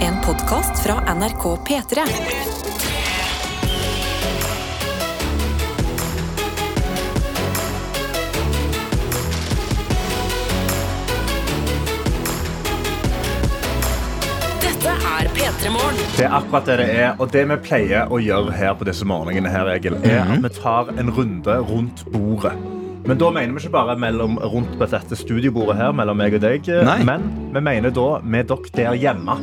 En podkast fra NRK P3. Dette er P3 Morgen. Det er akkurat det det er. Og det vi pleier å gjøre her på disse morgenene, her, Egil, er at vi tar en runde rundt bordet. Men da mener vi ikke bare mellom, rundt på dette studiebordet her, mellom meg og deg, eh, Nei. men vi mener da med dere der hjemme.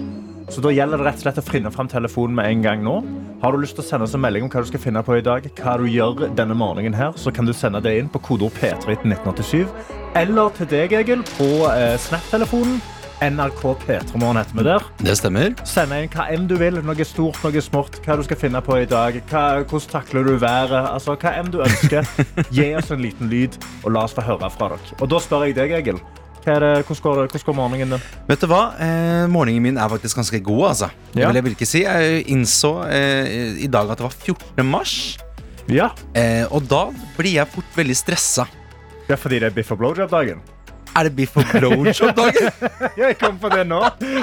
Så da gjelder det rett og slett å finne fram telefonen med en gang nå. Har du lyst til å sende oss en melding om hva du skal finne på i dag, hva du gjør denne morgenen her, så kan du sende det inn på kodeord P3 til 1987. Eller til deg, Egil, på eh, Snap-telefonen. NRK P3morgen heter vi der. Det stemmer. Send inn hva enn du vil. Noe stort, noe smått. Hva du skal finne på i dag. Hva, hvordan takler du været? Altså, hva enn du ønsker. Gi oss en liten lyd, og la oss få høre fra dere. Og da spør jeg deg, Egil. Hva er det, hvordan, går det, hvordan går morgenen din? Vet du hva? Eh, morgenen min er faktisk ganske god, altså. Det Ja. vil jeg virkelig si. Jeg innså eh, i dag at det var 14. mars, Ja, eh, og da blir jeg fort veldig stressa. det er fordi det er biff og blowjob-dagen. Er det biff og blowjob-dagen? Jeg kom på det nå.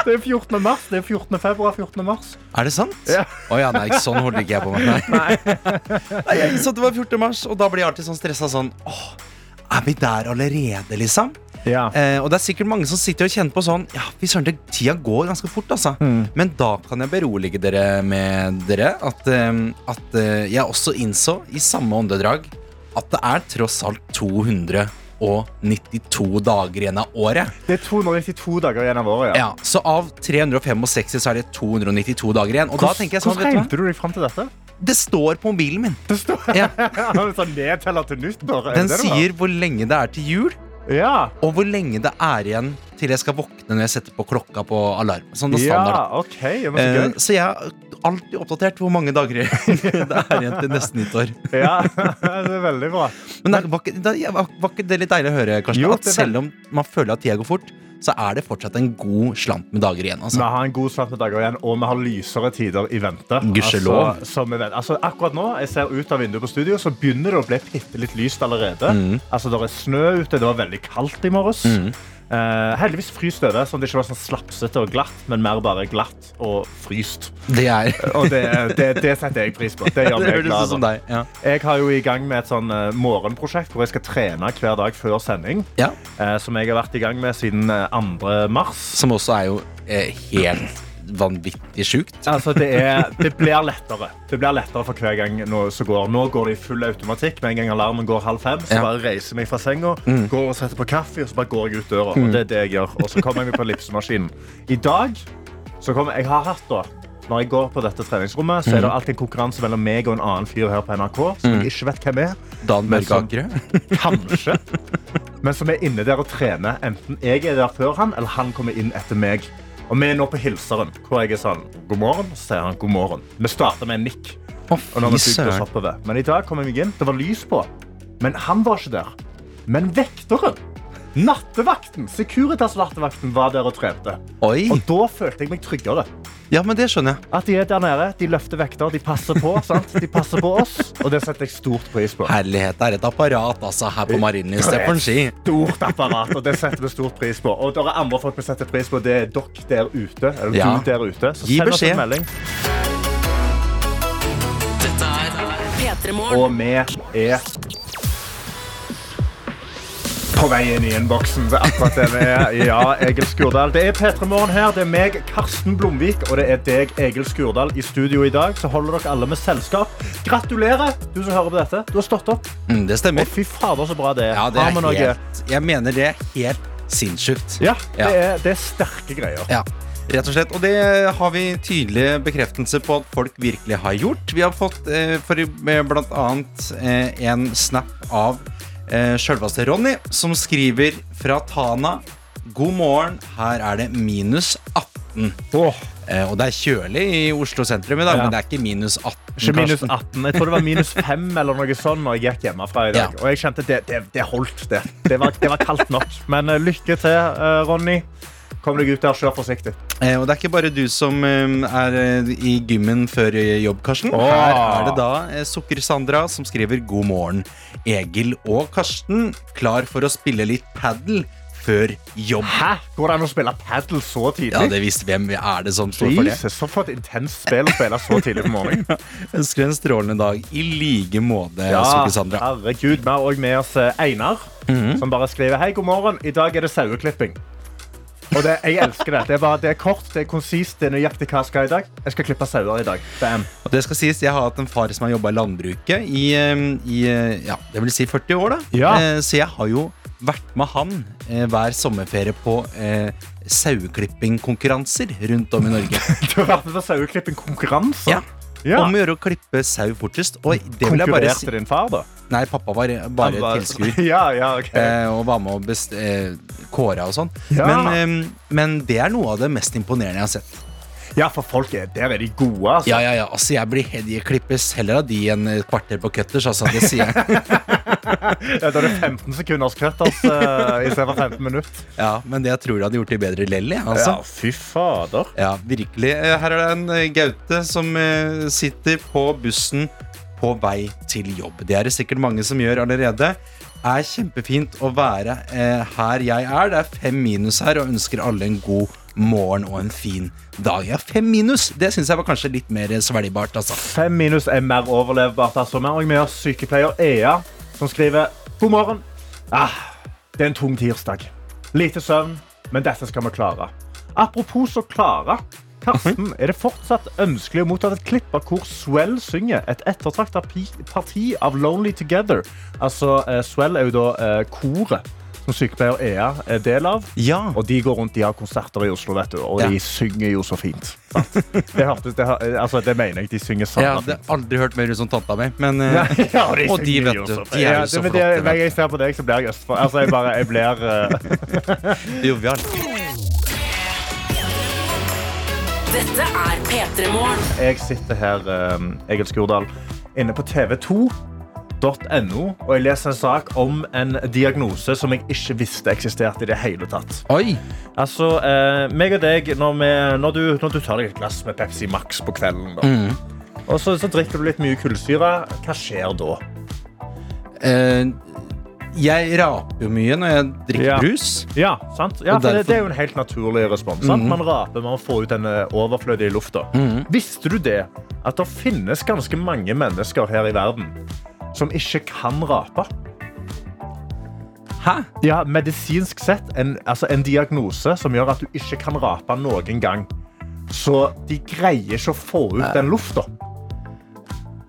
Det er 14. mars. Det er 14. februar, 14. mars. er det sant? Å Ja. ja. nei, sånn holder ikke jeg på meg. Nei. nei, jeg innså at det var 14. mars, og da blir jeg alltid sånn stressa sånn Åh, er vi der allerede, liksom? Ja. Eh, og det er sikkert mange som sitter og kjenner på sånn Ja, fy søren, det- tida går ganske fort, altså. Mm. Men da kan jeg berolige dere med dere at, eh, at eh, jeg også innså i samme åndedrag at det er tross alt 292 dager igjen av året. Det er 292 dager igjen av året. Ja, Så av 365 så er det 292 dager igjen. Og da tenker jeg sånn, hvordan vet du hva? regnet du deg fram til dette? Det står på mobilen min. Det står Ja, Har du sånn nedteller til nyttår? Er den det det du har? sier hvor lenge det er til jul, Ja. og hvor lenge det er igjen til jeg skal våkne når jeg setter på klokka på alarm. Sånn det er ja, standard. OK. Ja, men så Eh, gøy. så jeg er alltid oppdatert hvor mange dager det er igjen til neste nyttår. Ja, det er veldig bra. Men det, var, ikke, det, var var ikke det litt deilig å høre, Karsten? Jo, at det er selv om man føler at tida går fort, så er det fortsatt en god slant med dager igjen. Vi Altså. har en god svart med dager igjen, og vi har lysere tider i vente. Gudskjelov. Altså, som vi vet. altså, akkurat nå, jeg ser ut av vinduet på studio, så begynner det å bli bitte litt lyst allerede. Altså, det er snø ute, det var veldig kaldt i morges. Eh, heldigvis fryst over, sånn at det ikke var sånn slapsete og glatt, men mer bare glatt og fryst. Det er Og det, det, det setter jeg pris på. Det gjør det meg høres ut glad. som deg. Ja. Jeg har jo i gang med et sånn eh, morgenprosjekt hvor jeg skal trene hver dag før sending. Ja. eh, som jeg har vært i gang med siden eh, 2. mars. Som også er jo eh, helt vanvittig sjukt. Altså, det, er, det blir lettere. Det blir lettere for hver gang nå som går. Nå går det i full automatikk. Med en gang alarmen går halv fem, så Ja. bare reiser jeg meg fra senga, går og setter på kaffe, og så bare går jeg ut døra. Og det er det jeg gjør. Og så kommer jeg meg på ellipsemaskinen. I dag så kommer Jeg har hatt, da. Når jeg går på dette treningsrommet, så er det alltid en konkurranse mellom meg og en annen fyr her på NRK. Som jeg ikke vet hvem er. Dan Men Børge som- Akerø. Kanskje. Men som er inne der og trener. Enten jeg er der før han, eller han kommer inn etter meg. Og vi er nå på hilseren, hvor jeg er sånn God morgen, så sier han god morgen. Vi starter med en nikk. Å, Og nå har fy vi bygd oss søren. oppover. Men i dag kom jeg meg inn. Det var lys på. Men han var ikke der. Men vekteren, nattevakten, Securitas-nattevakten, var der og trente. Oi. Og da følte jeg meg tryggere. Ja, men det skjønner jeg. At de er der nede, de løfter vekter, de passer på. sant? De passer på oss. Og det setter jeg stort pris på. Herlighet, det er et apparat altså, her på Marienlyst. Det får en si. stort apparat, og det setter vi stor pris på. Og det er andre folk vi setter pris på. Det er dere der ute. Eller Ja. du der ute. Så Gi send oss beskjed. en melding. P3 Og Morgen. vi er på vei inn i innboksen. Det er akkurat det vi er. Ja, Egil Skurdal. Det er P3 Morgen her. Det er meg, Karsten Blomvik, og det er deg, Egil Skurdal, i studio i dag. Så holder dere alle med selskap. Gratulerer, du som hører på dette. Du har stått opp. Mm, det Å, stemmer. fy fader, så bra det er. Ja, det Har vi er noe- helt, jeg mener det er helt sinnssykt. Ja, det Ja. er, det er sterke greier. Ja, rett og slett. Og det har vi tydelig bekreftelse på at folk virkelig har gjort. Vi har fått eh, for, eh, blant annet eh, en snap av eh, sjølveste Ronny, som skriver fra Tana. God morgen, her er det minus 18. Åh. Eh, og det er kjølig i Oslo sentrum i dag, Ja. men det er ikke minus 18. Ikke minus Karsten. 18. Jeg tror det var minus 5 eller noe sånn når jeg gikk hjemmefra i dag. Ja. Og jeg kjente det, det, det holdt, det. Det var, det var kaldt nok. Men eh, lykke til, eh, Ronny. Kom deg ut der, kjør forsiktig. Eh, og det er ikke bare du som eh, er eh, i gymmen før eh, jobb, Karsten. Åh. Her er det da eh, Sukker-Sandra som skriver 'God morgen, Egil og Karsten'. Klar for å spille litt padel før jobb. Hæ? Går det an å spille padel så tidlig? Ja, det visste hvem er det som står for det. Jesus, så for et intenst spill å spille så tidlig på morgenen. Ønsker en strålende dag i like måte, Sofie Sandra. herregud. Vi har òg med oss eh, Einar, Mhm. som bare skriver Hei, god morgen. I dag er det saueklipping. Og det, jeg elsker det. Det er, bare, det er kort, det er konsist, det er nøyaktig hva jeg skal i dag. Jeg skal klippe sauer i dag. Bam. Og det skal sies, jeg har hatt en far som har jobba i landbruket i, eh, i eh, ja, det vil si 40 år, da. Ja. Eh, Så jeg har jo vært med han eh, hver sommerferie på eh, saueklippingkonkurranser rundt om i Norge. Du har vært med på saueklipping-konkurranse. Ja. Ja. Om å gjøre å klippe sau fortest. Og det vil jeg bare si Konkurrerte din far, da? Nei, pappa var Han bare var- tilskuer. Ja, ja, ok. eh, og var med og best, eh, kåra og sånn. Ja. Men, eh, men det er noe av det mest imponerende jeg har sett. ja, for folk er der er de gode. Altså. Ja, ja, ja, altså Jeg blir jeg klippes heller av de enn et kvarter på cutters. Altså, det sier jeg. Ja, Da er det 15 sekunders cut altså, istedenfor 15 minutter. Ja, Men det jeg tror jeg hadde gjort det bedre lell. jeg, Altså. Ja, fy fader. Ja, virkelig. Eh, Her er det en eh, Gaute som eh, sitter på bussen på vei til jobb. Det er det sikkert mange som gjør allerede. Er kjempefint å være eh, her jeg er. Det er fem minus her, og ønsker alle en god morgen og en fin dag. Ja, fem minus! Det syns jeg var kanskje litt mer eh, svelgbart, altså. Fem minus er mer overlevbart. Altså. Vi har også med oss sykepleier Ea, som skriver God morgen. Ah, det er en tung tirsdag. Lite søvn, men dette skal vi klare. Apropos å klare. Karsten, er det fortsatt ønskelig å motta et klipp av hvor Swell synger et ettertrakta pi- parti av Lonely Together? Altså, eh, Swell er jo da eh, koret som sykepleier Ea er del av. Ja. Og de går rundt, de har konserter i Oslo, vet du, og Ja. de synger jo så fint. sant? Det, hørtes- det, hø- altså, det mener jeg. De synger sånn. Jeg hadde aldri hørt mer ut som tanta mi, men eh, Ja, de Og synger de, vet jo du, så de er jo Ja, så men flotte, det- Hver vet gang jeg ser på deg, så blir jeg Østfold. Altså, jeg bare, jeg blir eh, jovial. Dette er P3 Morgen. Jeg sitter her, eh, Egil Skurdal, inne på tv2.no, og jeg leser en sak om en diagnose som jeg ikke visste eksisterte i det hele tatt. Oi! Altså, eh, meg og deg, når, vi, når, du, når du tar deg et glass med Pepsi Max på kvelden, da, og så, så drikker du litt mye kullsyre, hva skjer da? Eh, jeg raper jo mye når jeg drikker Ja. brus. Ja, sant? ja Og for det, derfor- det er jo en helt naturlig respons. Sant? Man raper, man får ut denne overflødige lufta. Visste du det? At det finnes ganske mange mennesker her i verden som ikke kan rape? Hæ? Ja, medisinsk sett en, altså en diagnose som gjør at du ikke kan rape noen gang. Så de greier ikke å få ut den lufta.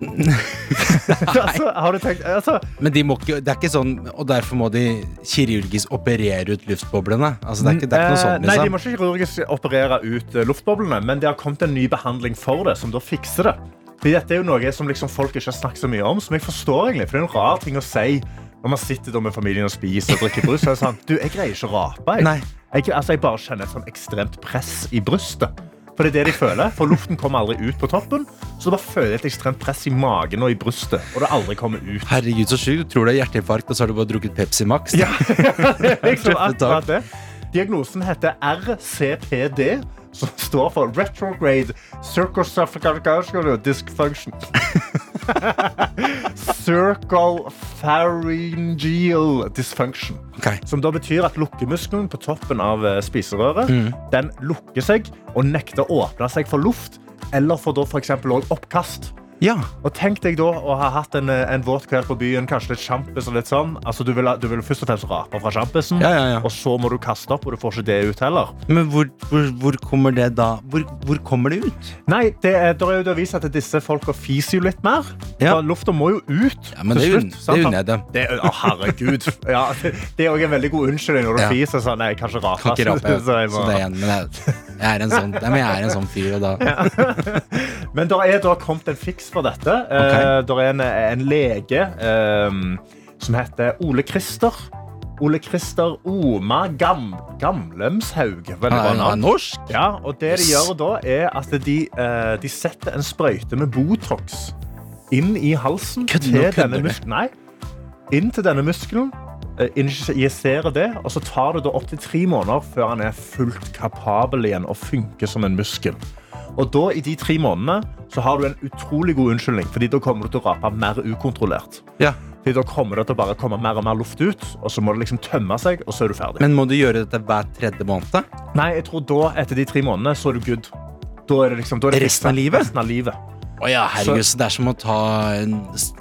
altså, har du tenkt altså, Men de må ikke, det er ikke sånn, og derfor må de kirurgisk operere ut luftboblene. Altså, det er ikke, det er ikke noe Eh, sånn, Nei, de liksom. må ikke kirurgisk operere ut eh, luftboblene, men det har kommet en ny behandling for det, som da fikser det. Fordi dette er jo noe som liksom folk ikke har snakket så mye om, som jeg forstår egentlig, for det er en rar ting å si når man sitter da med familien og spiser og drikker brus. Så er det sånn, du, jeg greier ikke å rape. Jeg, Nei. jeg, altså, jeg bare kjenner et sånn ekstremt press i brystet. For det er det de føler, for luften kommer aldri ut på toppen, så du bare føler et ekstremt press i magen og i brystet, og det aldri kommer ut. Herregud, så sjukt. Du tror det er hjerteinfarkt, og så har du bare drukket Pepsi Max. Ja, liksom akkurat takk. det. Diagnosen heter RCPD, som står for Retrograde Circosophageal Dysfunction. Circopharyngeal Dysfunction. Ok. Som da betyr at lukkemuskelen på toppen av eh, spiserøret Den lukker seg og nekter å åpne seg for luft, eller for da f.eks. oppkast. Ja. Og tenk deg da å ha hatt en, eh, en våt kveld på byen, kanskje litt sjampis og litt sånn. Altså, du vil, ha- du vil først og fremst rape fra sjampisen, Ja, ja, ja. og så må du kaste opp, og du får ikke det ut heller. Men hvor, hvor, hvor kommer det da Hvor, hvor kommer det ut? Nei, det er, der er jo det vist at disse folka fiser jo litt mer. Ja. For lufta må jo ut Ja, men det unn- sant? det unner jeg dem. Det, å, herregud. Ja, det er òg en veldig god unnskyldning når du Ja. fiser sånn. Nei, jeg kan ikke rape. Kan ikke rape. så jeg Så må- det er en, men jeg, jeg er en sånn, nei, men jeg er en sånn fyr, og da Men det er da kommet en fiks for dette. Eh, der er en, en lege ehm, som heter Ole Christer. Ole Christer Oma Gam Gamlemshaug. Veldig Han bra er, han er navn. norsk. Ja, og det de Yes. gjør da, er at de, eh, de setter en sprøyte med Botox inn i halsen Kødder- til kødder denne du? muskelen. Nei, inn til denne muskelen. eh, Injiserer det, og så tar det da opptil tre måneder før han er fullt kapabel igjen og funker som en muskel. Og da, i de tre månedene, så har du en utrolig god unnskyldning, fordi da kommer du til å rape mer ukontrollert. Ja. Fordi da kommer det til å bare komme mer og mer luft ut, og så må det liksom tømme seg, og så er du ferdig. Men må du gjøre dette hver tredje måned? Nei, jeg tror da, etter de tre månedene, så er du good. Da er det liksom, da er det Resten av fiksa. livet? Resten av livet. Å ja, herregud, så det er som å ta en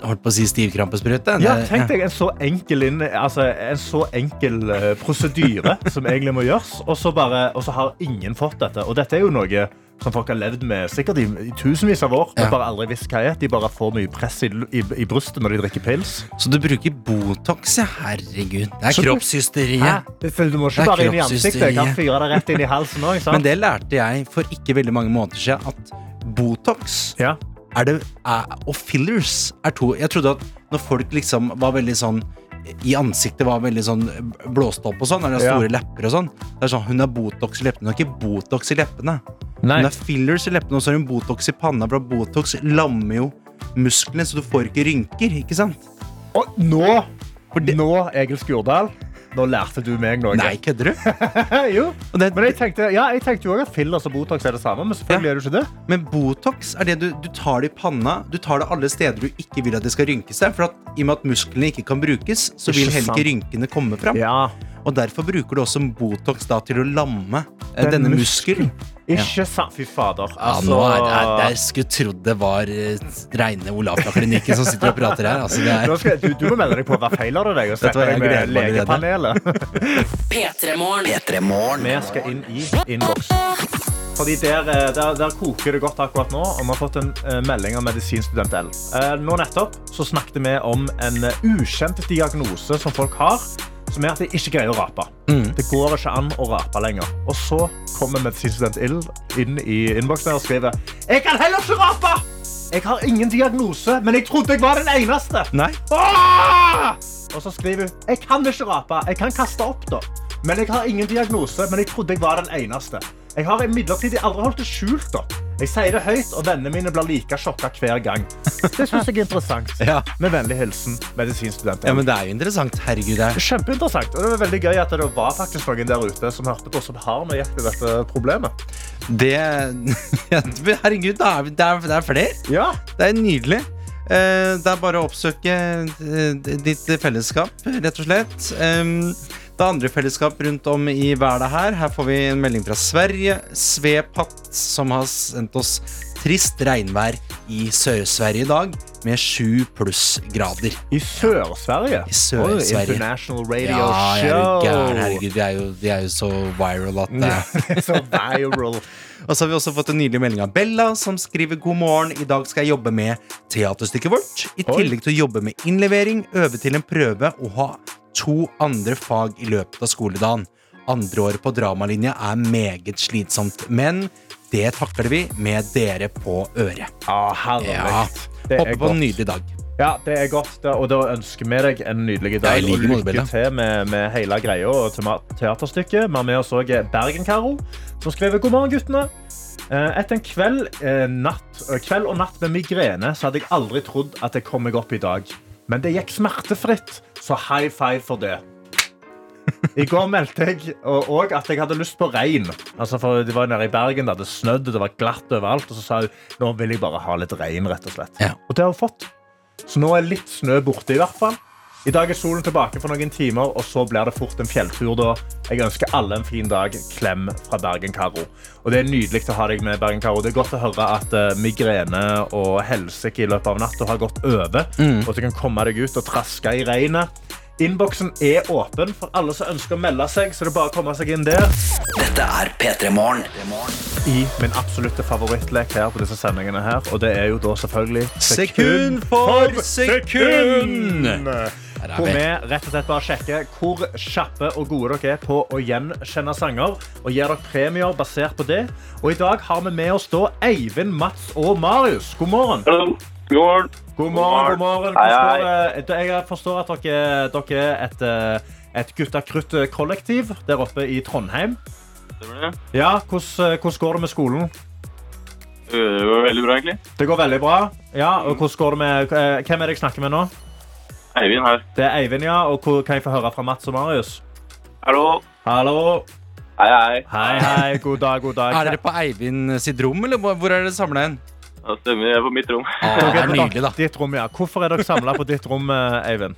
holdt på å si stivkrampesprøyte. Ja, Det- tenk deg en så enkel, inn, altså, en så enkel eh, prosedyre som egentlig må gjøres, og så, bare, og så har ingen fått dette. Og dette er jo noe som folk har levd med sikkert i, i tusenvis av år, Ja. men bare aldri visst hva er. De bare får mye press i, i, i brystet når de drikker pils. Så du bruker Botox, ja. Herregud. Det er Så du- kroppshysteriet. Du føler- du må Det ikke er bare inn i ansiktet. Jeg kan kroppshysteri. fyre deg rett inn i halsen òg. Men det lærte jeg for ikke veldig mange måneder siden, at Botox Ja. er det, er, og fillers er to Jeg trodde at når folk liksom var veldig sånn i ansiktet var veldig sånn blåst opp og sånn, eller Ja. store lepper og sånn. Det er sånn, Hun har Botox i leppene. Hun har ikke Botox i leppene. Nei. Hun har fillers i leppene, og så har hun Botox i panna. For Botox lammer jo musklene, så du får ikke rynker. ikke sant? Og nå, nå Egil Skurdal, nå lærte du meg noe. Nei, kødder du? Eh, jo. Og det, Men jeg tenkte, ja, jeg tenkte jo også at fillers og Botox er det samme, men selvfølgelig Ja. er det jo ikke det. Men Botox er det du, du tar det i panna. Du tar det alle steder du ikke vil at det skal rynke seg. For at, i og med at musklene ikke kan brukes, så vil Ikke heller sant. ikke rynkene komme fram. Ja, Og derfor bruker du også Botox da til å lamme eh, Den denne muskelen. muskelen. ikke sant? Fy fader. Ja, nå er, er, jeg skulle trodd det var eh, reine Olaf fra klinikken som sitter og prater her. Altså, det Nå er. skal, du, du må melde deg på hva feiler du deg, og Vet du hva, sette deg jeg med gleder meg legepanelet. P3morgen. Vi skal inn i innboks. Fordi der, eh, der, der koker det godt akkurat nå, og vi har fått en eh, melding av medisinstudent L. Eh, Nå nettopp så snakket vi om en eh, ukjent diagnose som folk har, som er at de ikke greier å rape. Det går ikke an å rape lenger. Og så kommer medisinstudent L inn i innboksen og skriver Jeg kan heller ikke rape! Jeg har ingen diagnose, men jeg trodde jeg var den eneste. Nei. Ah! Åh! Og så skriver hun Jeg kan ikke rape, jeg kan kaste opp da Men jeg har ingen diagnose, men jeg trodde jeg var den eneste Jeg har imidlertid aldri holdt det skjult da Jeg sier det høyt, og vennene mine blir like sjokka hver gang Det synes jeg er interessant Ja. Med vennlig hilsen, medisinstudent ja, men det er jo interessant. Herregud, det er Kjempeinteressant, og det var veldig gøy at det var faktisk noen der ute Som hørte på, som har nøyaktig dette problemet det, Herregud, det er, det er, det er flere. Ja, Det er nydelig. Eh, Det er bare å oppsøke eh, ditt fellesskap, rett og slett. Em, Det er andre fellesskap rundt om i verden her. Her får vi en melding fra Sverige. Svepatt, som har sendt oss trist regnvær i Sør-Sverige i dag, med sju plussgrader. i Sør-Sverige I Sør-Sverige. Oi, International Radio Ja, jeg er jo Show gæren. Herregud, vi er jo, vi er jo så viral at eh, det Ja, er Så viral Og så har vi også fått en nydelig melding av Bella, som skriver god morgen. I dag skal jeg jobbe med teaterstykket vårt. I Oi. tillegg til å jobbe med innlevering, øve til en prøve og ha to andre fag i løpet av skoledagen. Andre året på dramalinja er meget slitsomt, men det takler vi med dere på øret. Ja, herlig. Ja. Det er Håper på en godt. nydelig dag. Ja, det er godt. da- Og da ønsker vi deg en nydelig Ja, dag. i like og måte, lykke Bella. til med, med hele greia og tema- teaterstykket. Vi har med oss òg Bergen-Karo, som skriver God morgen, guttene. Eh, Etter en kveld, eh, natt, eh, kveld og natt med migrene så hadde jeg aldri trodd at jeg kom meg opp i dag. Men det gikk smertefritt, så high five for det. I går meldte jeg òg at jeg hadde lyst på regn. Altså for De var nede i Bergen, det hadde snødd, det var glatt overalt. Og så sa hun nå vil jeg bare ha litt regn. rett Og slett Ja. Og det har hun fått. Så nå er litt snø borte. I hvert fall I dag er solen tilbake for noen timer, og så blir det fort en fjelltur. da Jeg ønsker alle en fin dag. Klem fra Bergen-Karo. Og det er nydelig å ha deg med, Bergen-Karo. Det er godt å høre at eh, migrene og helsike i løpet av natta har gått over, Mm. og at du kan komme deg ut og traske i regnet. Innboksen er åpen for alle som ønsker å melde seg. så det er bare å komme seg inn der. Dette er P3 Morgen. I min absolutte favorittlek her, på disse sendingene her, og det er jo da selvfølgelig Sekund for sekund! Her Hvor er vi vi. rett og slett bare sjekker hvor kjappe og gode dere er på å gjenkjenne sanger. Og gir dere premier basert på det. Og i dag har vi med oss da Eivind, Mats og Marius. God morgen. Hallo. God morgen. God morgen, god morgen. Hei, Hvordan går det? Jeg forstår at dere, dere er et, eh, et gutta krutt-kollektiv der oppe i Trondheim. Stemmer det? Ja, hvordan, eh, hvordan går det med skolen? Det var veldig bra, egentlig. Det går veldig bra. Ja, og hvordan går det med, eh, hvem er det jeg snakker med nå? Eivind her. Det er Eivind, ja. Og hvor kan jeg få høre fra Mats og Marius? Hallo. Hallo. Hei, hei. Hei, hei. God dag, god dag. Er dere på Eivind sitt rom, eller hvor hvor er dere samla hen? Ja, stemmer. Jeg er på mitt rom. Ah, det er nydelig, da. Ditt rom, ja. Hvorfor er dere samla på ditt rom, eh, Eivind?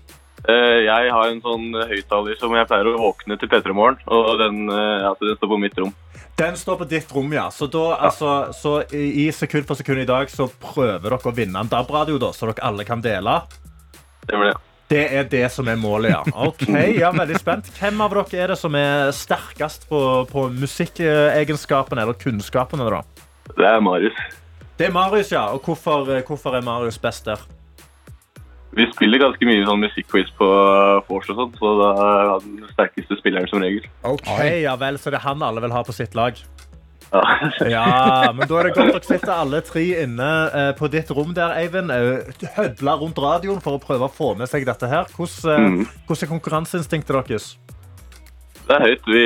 Eh, Jeg har en sånn eh, høyttaler som jeg pleier å våkne til P3 Morgen, og den, eh, ja, så den står på mitt rom. Den står på ditt rom, ja. Så, da, altså, så i, i sekund for sekund i dag så prøver dere å vinne en DAB-radio, da, så dere alle kan dele. Stemmer det. Det er det som er målet, ja. Ok, ja, veldig spent. Hvem av dere er det som er sterkest på, på musikkegenskapene eller kunnskapene? da? Det er Marius. Det er Marius, ja. Og hvorfor, hvorfor er Marius best der? Vi spiller ganske mye sånn musikkquiz på vors og sånn, så da er han den sterkeste spilleren som regel. Ok, ja vel, Så det er han alle vil ha på sitt lag? Ja. Ja, men da er det godt dere sitter alle tre inne eh, på ditt rom der, Eivind. eh, Høvler rundt radioen for å prøve å få med seg dette her. Hvordan, Mm. eh, hvordan er konkurranseinstinktet deres? Det er høyt. Vi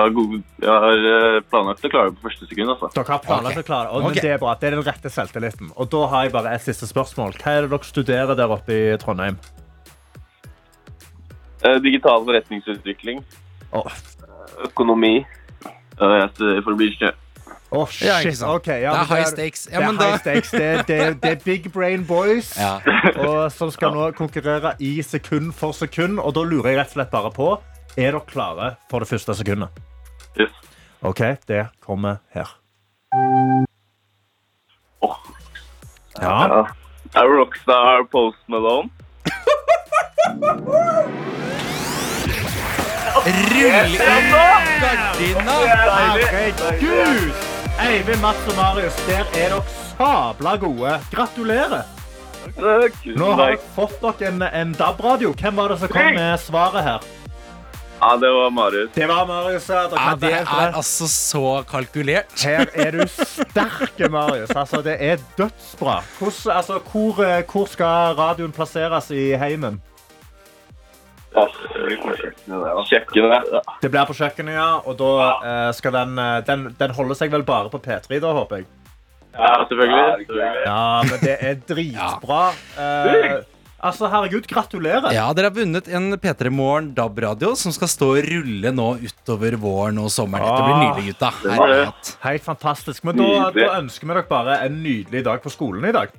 har, gode, vi har eh, planlagt å klare det på første sekund, altså. Dere har planlagt Ok. å klare det, og- men Ok. det er bra. Det er den rette selvtilliten. Og da har jeg bare et siste spørsmål. Hva er det dere studerer der oppe i Trondheim? Eh, Digital forretningsutvikling. Åh, Økonomi. Ja, jeg studerer for å bli ingeniør. åh, Ja, ikke shit. sant. Ok, ja, det men er high stakes. Det Ja, er men da high stakes. Det er, det, er- det er big brain boys ja. og som skal nå konkurrere i sekund for sekund. Og da lurer jeg rett og slett bare på Er dere klare for det første sekundet. Yes. OK, det kommer her. Åh. Ja. Er Rockstar Post Malone? Rull inn gardina! Herregud! Eivind, Mats og Marius, der er dere sabla gode. Gratulerer! Nå har dere fått dere en, en DAB-radio. Hvem var det som kom med svaret her? Ja, det var Marius. Det var Marius. ja. Dere Ja, hadde det helt rett. er altså så kalkulert. Her er du sterke, Marius. Altså, det er dødsbra. Hvordan, altså, hvor, eh, hvor skal radioen plasseres i heimen? Kjøkkenet. Det blir på kjøkkenet, ja. Og da eh, skal den, eh, den Den holder seg vel bare på P3, da, håper jeg. Ja, selvfølgelig. selvfølgelig. Ja, men det er dritbra. Eh, altså, herregud, gratulerer. Ja, Dere har vunnet en P3 Morgen DAB-radio som skal stå og rulle nå utover våren og sommeren. Dette Ah, blir nydelig, gutta. var det. Herlighet. Helt fantastisk. Men da, Nydelig. da ønsker vi dere bare en nydelig dag på skolen i dag.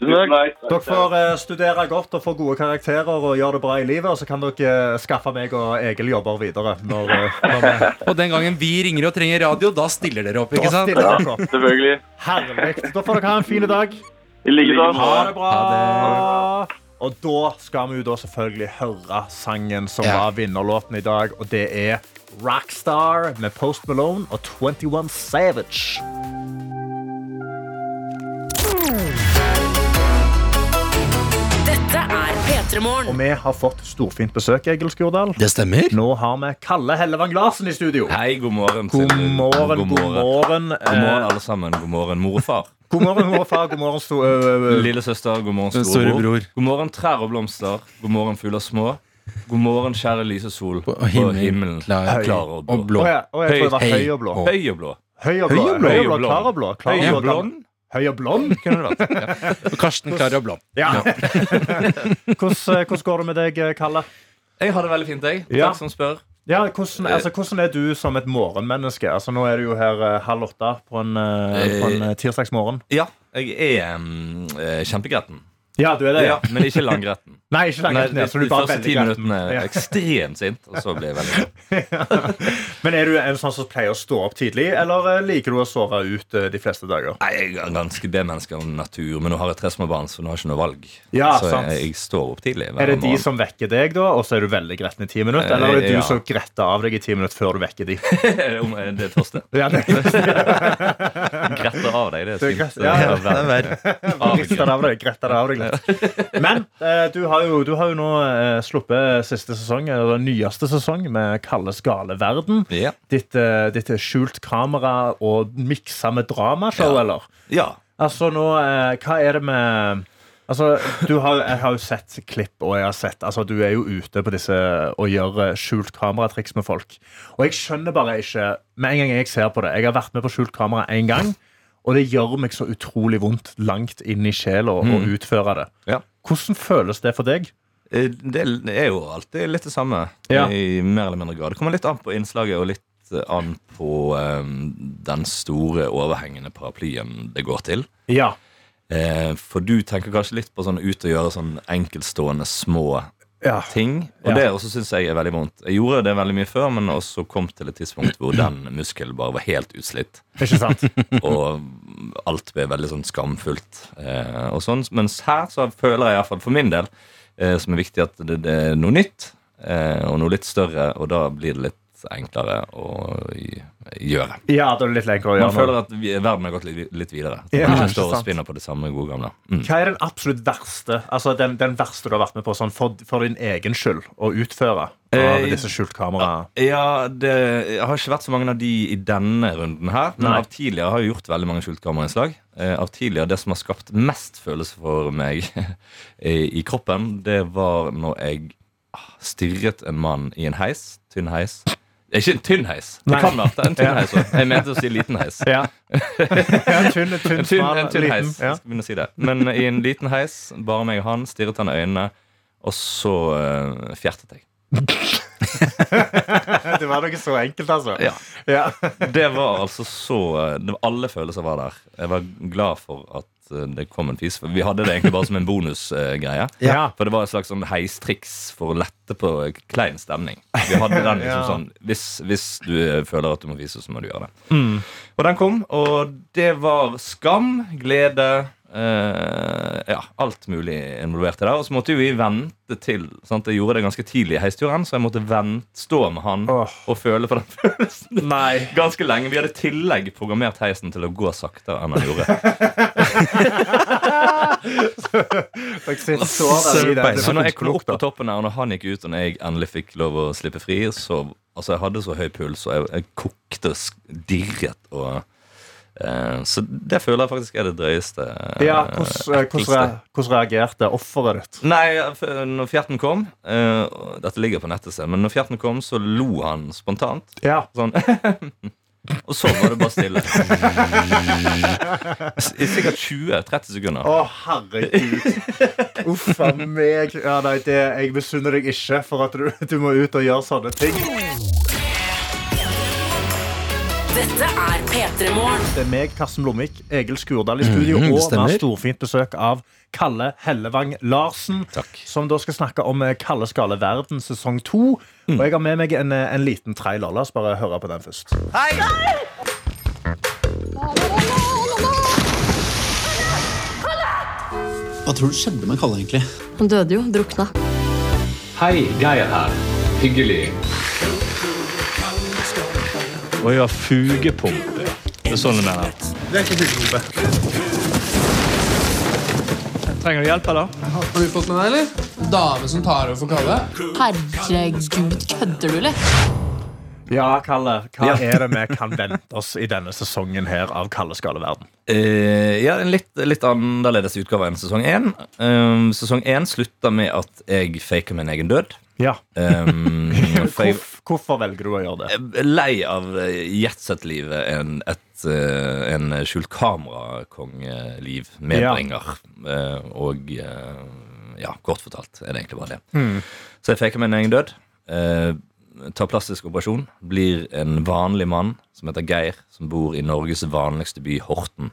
Tusen takk. Dere får eh, studere godt og få gode karakterer og gjøre det bra i livet. Og så kan dere eh, skaffe meg og Egil jobber videre. Når, eh, når vi, Og den gangen vi ringer og trenger radio, da stiller dere opp, ikke da sant? stiller dere opp. Selvfølgelig. Herlig. Da får dere ha en fin dag. I like Ha måte. det bra. Ha Og da skal vi jo da selvfølgelig høre sangen som Ja. var vinnerlåten i dag, og det er Rockstar med Post Malone og 21 Savage. Dette er P3 Og Morgen. vi har fått storfint besøk, Egil Skurdal. Det stemmer. Nå har vi Kalle Hellevang Larsen i studio. Hei, god morgen. til- God morgen, god morgen. God morgen, Eh, alle sammen. God morgen, mor og far. God morgen, mor og far. God morgen, sto... øh, øh, Lille søster, god morgen, storebror. Storebror. God morgen, trær og blomster. God morgen, fugler små. God morgen, kjære lyse sol. Og himmelen klar- klar, og blå. og blå. Å ja, å, jeg tror det var Høy. høy og blå. Høy og blå. Høy og blå. Høy og blå. Høy og blå. Klar og blå. Klar og Høy blå. og blond Høy og blond? kunne det vært. Ja. Og Karsten Klara Blom. Ja. hvordan, hvordan går det med deg, Kalle? Jeg har det veldig fint, jeg. Ja. Takk som spør. Ja, hvordan, altså, hvordan er du som et morgenmenneske? Altså, nå er du jo her eh, halv åtte på en, eh, på en eh, tirsdagsmorgen. Ja, jeg er um, eh, kjempegretten. Ja, du er det, ja. Ja, men ikke langgretten. Nei, ikke Nei, langt de, ned. Så du de er bare første veldig ti gretten. minuttene er Ja. ekstremt sint, og så blir jeg veldig sånn, glad. Men er du en sånn som pleier å stå opp tidlig, eller eh, liker du å sove ut eh, de fleste dager? Nei, Jeg er ganske B-menneske av natur, men nå har jeg tre små barn, så nå har jeg ikke noe valg. Ja, så sant. jeg, jeg står opp tidlig. hver Er det de morgen. Eh, som vekker deg, da, og så er du veldig gretten i ti minutter? Eller er det du Ja. som gretter av deg i ti minutter før du vekker de? Om eh, det første? Ja, det Grette av deg, det Det er er eh, fint. greit, ja, ja. Det er verre. Rister det av deg, gretter det av deg litt. Men eh, du, har jo, du har jo nå eh, sluppet siste sesong, eh, eller den nyeste sesong, med Kalles gale verden. Ja. Ditt, eh, ditt skjult kamera og miksa med dramashow, Ja. eller? ja. Altså nå, eh, hva er det med Altså, du har, Jeg har jo sett klipp, og jeg har sett, altså du er jo ute på disse og gjør eh, skjult kameratriks med folk. Og jeg skjønner bare ikke Med en gang jeg ser på det Jeg har vært med på skjult kamera én gang, og det gjør meg så utrolig vondt langt inn i sjela å utføre det. Mm. Ja. Hvordan føles det for deg? Eh, Det er jo alltid litt det samme, Ja. i mer eller mindre grad. Det kommer litt an på innslaget og litt litt an på eh, den store overhengende paraplyen det går til. Ja. Eh, for du tenker kanskje litt på sånn ut og gjøre sånn enkeltstående små Ja. ting. Og Ja. det også syns jeg er veldig vondt. Jeg gjorde det veldig mye før, men også kom til et tidspunkt hvor den muskelen bare var helt utslitt. Ikke sant? Og alt ble veldig sånn skamfullt. Eh, og sånn. Mens her så føler jeg iallfall for min del, eh, som er viktig, at det, det er noe nytt. Eh, og noe litt større, og da blir det litt enklere å gj- gjøre. Ja, da er det litt lenger å Man gjøre føler noe. at vi, verden har gått litt, litt videre. At Ja, man ikke ikke står og sant. spinner på det samme gode gamle. Mm. Hva er den absolutt verste Altså den, den verste du har vært med på sånn, for, for din egen skyld å utføre? Av Eh, disse skjult kamera Ja, det jeg har ikke vært så mange av de i denne runden her. Men Nei. av tidligere har jeg gjort veldig mange skjult kamerainnslag. Eh, av tidligere det som har skapt mest følelse for meg i i kroppen, det var når jeg ah, stirret en mann i en heis. Tynn heis. Det er Ikke en tynn heis. Det Nei. kan være det er en tynn Ja. heis også. Jeg mente å si liten heis. Ja. en tynn, en tynn, En tynn, smal, en tynn liten, heis. Ja. Jeg skal begynne å si det. Men eh, i en liten heis, bare meg og han, stirret han i øynene, og så eh, fjertet jeg. Det var noe så enkelt, altså. Ja. Ja. Det var altså så det var Alle følelser var der. Jeg var glad for at eh, det kom en fis. For Vi hadde det egentlig bare som en bonusgreie. Ja. For det var et slags sånn heistriks for å lette på klein stemning. Vi hadde den liksom Ja. sånn hvis, hvis du eh, føler at du må fise, så må du gjøre det. Og den kom, og det var skam, glede eh, ja, alt mulig involvert i det. Og så måtte jo vi vente til sant? Jeg gjorde det ganske tidlig i heisturen, så jeg måtte vente, stå med han Åh. og føle på den følelsen Nei. ganske lenge. Vi hadde i tillegg programmert heisen til å gå saktere enn han gjorde. Jeg sitter så der i det. Det Så var når jeg ikke kom opp klokt, på da. toppen her, og når han gikk ut, og når jeg endelig fikk lov å slippe fri, så Altså, jeg hadde så høy puls, og jeg, jeg kokte og sk- dirret og eh, Så det føler jeg faktisk er det drøyeste. eh, Ja, hvordan, hvordan, ekleste. rea- hvordan reagerte offeret ditt? Nei, f- når fjerten kom eh, og Dette ligger på nettet, selv, men når fjerten kom, så lo han spontant. Ja. Sånn Og så var det bare stille. I sikkert 20-30 sekunder. Å, herregud. Uff a meg. Ja, nei, det, jeg misunner deg ikke for at du, du må ut og gjøre sånne ting. Dette er P3 Morgen. Det er meg, Karsten Blomvik, Egil Skurdal i studio, Mm, Mhm, det og vi har stemmer. storfint besøk av Kalle Hellevang Larsen, som da skal snakke om eh, Kalle Skale verden sesong to. Mm. Og jeg har med meg en, eh, en liten trailer. La oss bare høre på den først. Hva tror du skjedde med Kalle, egentlig? Han døde jo, drukna. Hei, Geir her. Hyggelig. Og jeg har fugepumpe. Det er sånn jeg mener. Det er ikke fugepumpe. Trenger du hjelp, eller? Har du fått med deg, eller? Dame som tar over for Kalle? Herregud, kødder du, eller? Ja, Kalle, hva er det vi kan vente oss i denne sesongen her av Kalle Skale verden? Eh, ja, en litt, litt annerledes utgave enn sesong 1. sesong 1 slutter med at jeg faker min egen død. Ja. Um, for jeg Hvorf, hvorfor velger du å gjøre det? er lei av eh, jetset-livet. En, et, eh, en skjult kamera-kongeliv med Ja. drenger. Eh, og eh, ja, kort fortalt er det egentlig bare det. Så jeg faker min egen død. eh, tar plastisk operasjon. Blir en vanlig mann som heter Geir, som bor i Norges vanligste by, Horten.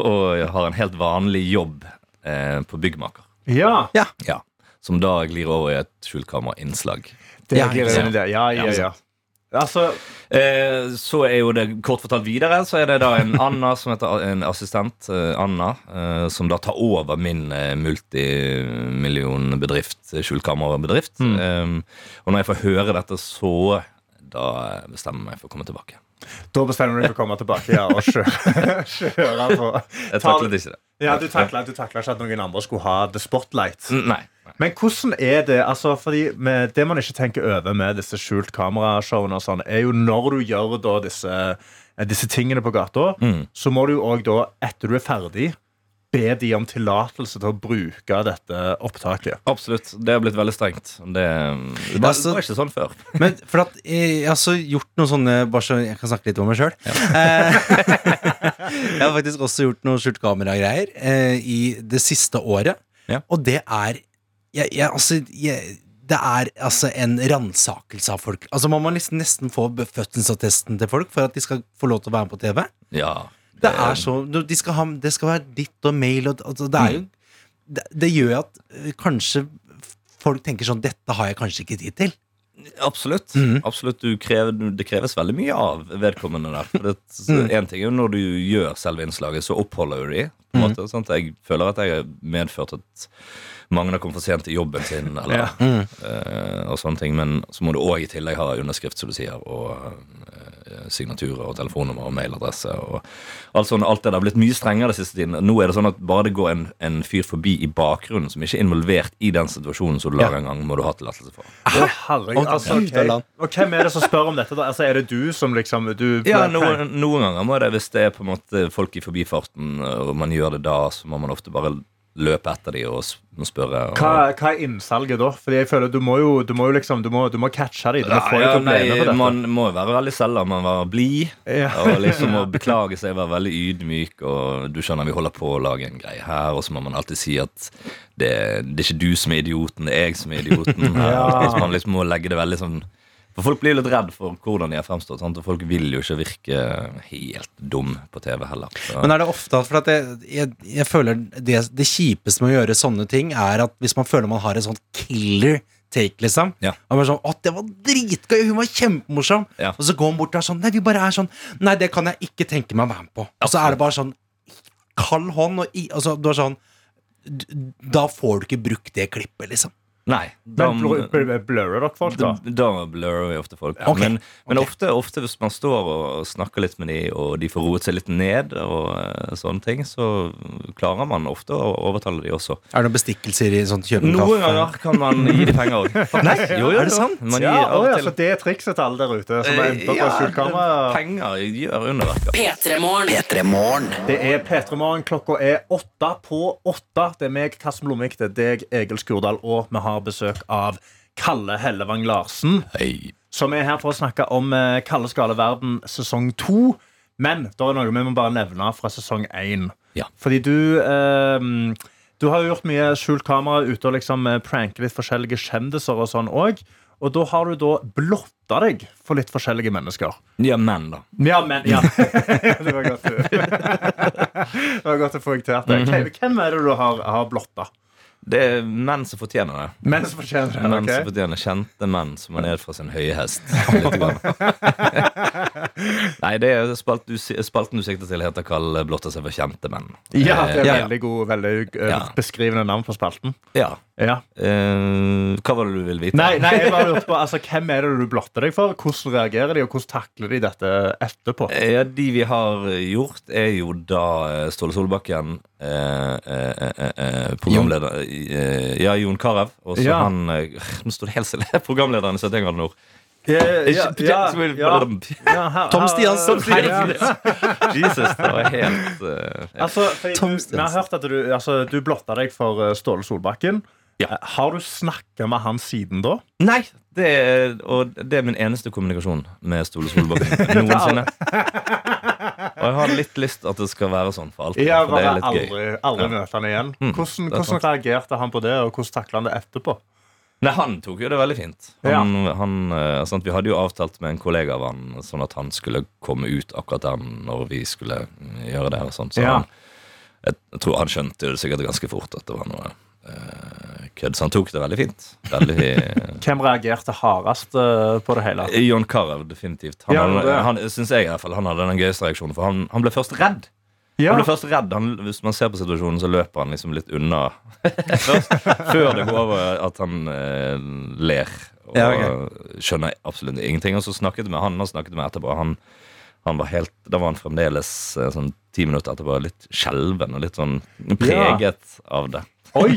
og jeg har en helt vanlig jobb eh, på byggmaker. Ja, Ja. Som da glir over i et skjultkamera-innslag. det Ja, gir ikke en sant. idé. Ja, ja, ja. Altså, Eh, så er jo det kort fortalt videre, så er det da en Anna som heter en assistent, eh, Anna, eh, som da tar over min eh, multimillionbedrift, eh, skjulkammerbedrift. Eh, og når jeg får høre dette, så da bestemmer jeg meg for å komme tilbake. da bestemmer du deg for å komme tilbake ja, og kjøre, kjøre på. Jeg taklet ikke det. Ja, du takla, du takla ikke at noen andre skulle ha the spotlight. N- Nei. Mm. Men hvordan er det? Altså, fordi med, det man ikke tenker over med disse skjult kamerashowene, og sånn, er jo når du gjør da disse, eh, disse tingene på gata, så må du jo òg da, etter du er ferdig, be de om tillatelse til å bruke dette opptaket. Absolutt. Det har blitt veldig strengt. Det, det, var, Altså- det var ikke sånn før. Men for at eh, jeg har også gjort noen sånne Bare så jeg kan snakke litt om meg sjøl. jeg har faktisk også gjort noen skjult kamera-greier eh, i det siste året. Ja. Og det er jeg, jeg, Altså, jeg, det er altså en ransakelse av folk. Altså Man må nesten, nesten få fødselsattesten til folk for at de skal få lov til å være med på TV. Ja. Det er så de skal ha, Det skal være ditt og mail og, altså, det, er jo, det, det gjør jo at øh, kanskje folk tenker sånn Dette har jeg kanskje ikke tid til. Absolutt. Absolutt. Du krever, det kreves veldig mye av vedkommende der. For det, Mm. En ting er jo når du gjør selve innslaget, så oppholder du de. På en Mm. måte, sant? Jeg føler at jeg har medført at mange har kommet for sent til jobben sin, eller, Ja. Mm. eh, og sånne ting. Men så må du òg i tillegg ha underskrift, som du sier, og eh, signaturer og telefonnummer og mailadresse. Og alt, sånn, alt det der har blitt mye strengere den siste tiden. Nå er det sånn at bare det går en, en fyr forbi i bakgrunnen som ikke er involvert i den situasjonen som du lager en gang, må du ha tillatelse for. Å, herregud, Å, altså, Gud, Allan. ok. Og hvem er det som spør om dette? da? Altså, er det du som liksom du, Ja, noen, noen ganger må det, hvis det er på en måte folk i forbifarten, og man gjør det da, så må man ofte bare løpe etter de og s- og spørre. Og, hva, hva er innsalget da? Fordi jeg føler Du må jo, du må jo liksom Du må, du må catche dem. Du må få Ja, dem til å bli med nei, på dette. man må jo være veldig selv om man var blid, Ja. og liksom å beklage seg, være veldig ydmyk, og du skjønner vi holder på å lage en greie her, og så må man alltid si at det, det er ikke du som er idioten, det er jeg som er idioten. Her, Ja. hvis man liksom må legge det veldig sånn for Folk blir jo litt redd for hvordan de har fremstått, sant? og folk vil jo ikke virke helt dum på TV heller. Så- Men er det ofte at For at jeg, jeg, jeg føler det, det kjipeste med å gjøre sånne ting, er at hvis man føler man har en sånn killer take, liksom Ja. Og man er sånn, å, det var dritgøy, hun var kjempemorsom Ja. Og så går man bort og er sånn Nei, vi bare er sånn Nei, det kan jeg ikke tenke meg å være med på. Og så er det bare sånn kald hånd, og i, altså, du er sånn d- Da får du ikke brukt det klippet, liksom. Nei. Da, Men bl- bl- blurrer dere folk, da? da, da blurrer vi ofte folk. Ok, Men, men ofte, ofte hvis man står og snakker litt med de, og de får roet seg litt ned, og eh, sånne ting, så klarer man ofte å overtale de også. Er det noen bestikkelser i sånn kjøpe en Noen kaffe? ganger kan man gi de penger òg. Nei, Jo, jo, er det jo. sant? Man gir Ja, av å, ja, så og til Eh, det er trikset til alle der ute som har endt opp Ja, med skjult kamera? penger gjør underverker. P3morgen. P3morgen. Det er P3 Morgen. Klokka er åtte på åtte. Det er meg, Karsten Blomvik, det er deg, Egil Skurdal, og vi har besøk av Kalle Hellevang Larsen. Som er her for å snakke om eh, Kalle Skale verden sesong to. Men det er noe vi må bare nevne fra sesong én. Ja. Fordi du eh, Du har jo gjort mye skjult kamera ute og liksom eh, pranket litt forskjellige kjendiser og sånn òg. Og da har du da blotta deg for litt forskjellige mennesker. Ja, men, da. Ja, men ja. Det var godt du Det var godt å få poengtert det. Mhm. Hvem- Hvem er det du har, har blotta? Det er menn som fortjener det. Menn som fortjener det. Menn ok? som fortjener kjente menn som er ned fra sin høye hest. Litt grann. Nei, det er spalt du, spalten du sikter til, heter Kall blotter seg for kjente menn. Ja, det er Eh, veldig god, veldig eh, Ja. beskrivende navn på spalten. ja. Ja. Eh, hva var det du ville vite? Nei, nei, jeg bare lurte på altså, Hvem er det du blotter deg for? Hvordan reagerer de, og hvordan takler de dette etterpå? Eh, Ja, De vi har gjort, er jo da eh, Ståle Solbakken eh, eh, eh, eh, Programleder eh, Ja, Jon Carew. Og så Ja. han eh, Nå står det helt stille. Programlederen i 71 grader nord. ja, ja, ja. Ja, her- Tom Stians- her- Herregud. Jesus, det var helt eh, ja. Altså, fordi Tom du, vi har hørt at du, altså, du blotta deg for eh, Ståle Solbakken. Ja. Eh, Har du snakka med han siden da? Nei! Det er, og det er min eneste kommunikasjon med Ståle Solbakken noensinne. Og jeg har litt lyst at det skal være sånn for alltid. Ja, for bare det er litt gøy. aldri, aldri Ja. møte han igjen. Mm, Hvordan, det er hvordan sant. reagerte han på det, og hvordan takla han det etterpå? Nei, han tok jo det veldig fint. Han, han, eh, sant, vi hadde jo avtalt med en kollega av han sånn at han skulle komme ut akkurat der når vi skulle mm, gjøre det her. og sånt. Så Ja. han, jeg, jeg tror han skjønte jo det sikkert ganske fort at det var noe eh, kødd, så han tok det veldig fint. Veldig Hvem reagerte hardest eh, på det hele? John Carew, definitivt. Han, Ja, det hadde, er det. han, synes jeg i hvert fall, han hadde den gøyeste reaksjonen, for han, han ble først redd. Han Ja, ble først redd. Han, hvis man ser på situasjonen, så løper han liksom litt unna først, før det går over at han eh, ler og Ja, ok. skjønner absolutt ingenting. Og så snakket jeg med han og snakket med etterpå. Han, han var helt, da var han fremdeles eh, sånn ti minutter etterpå litt skjelven og litt sånn preget av det. Oi!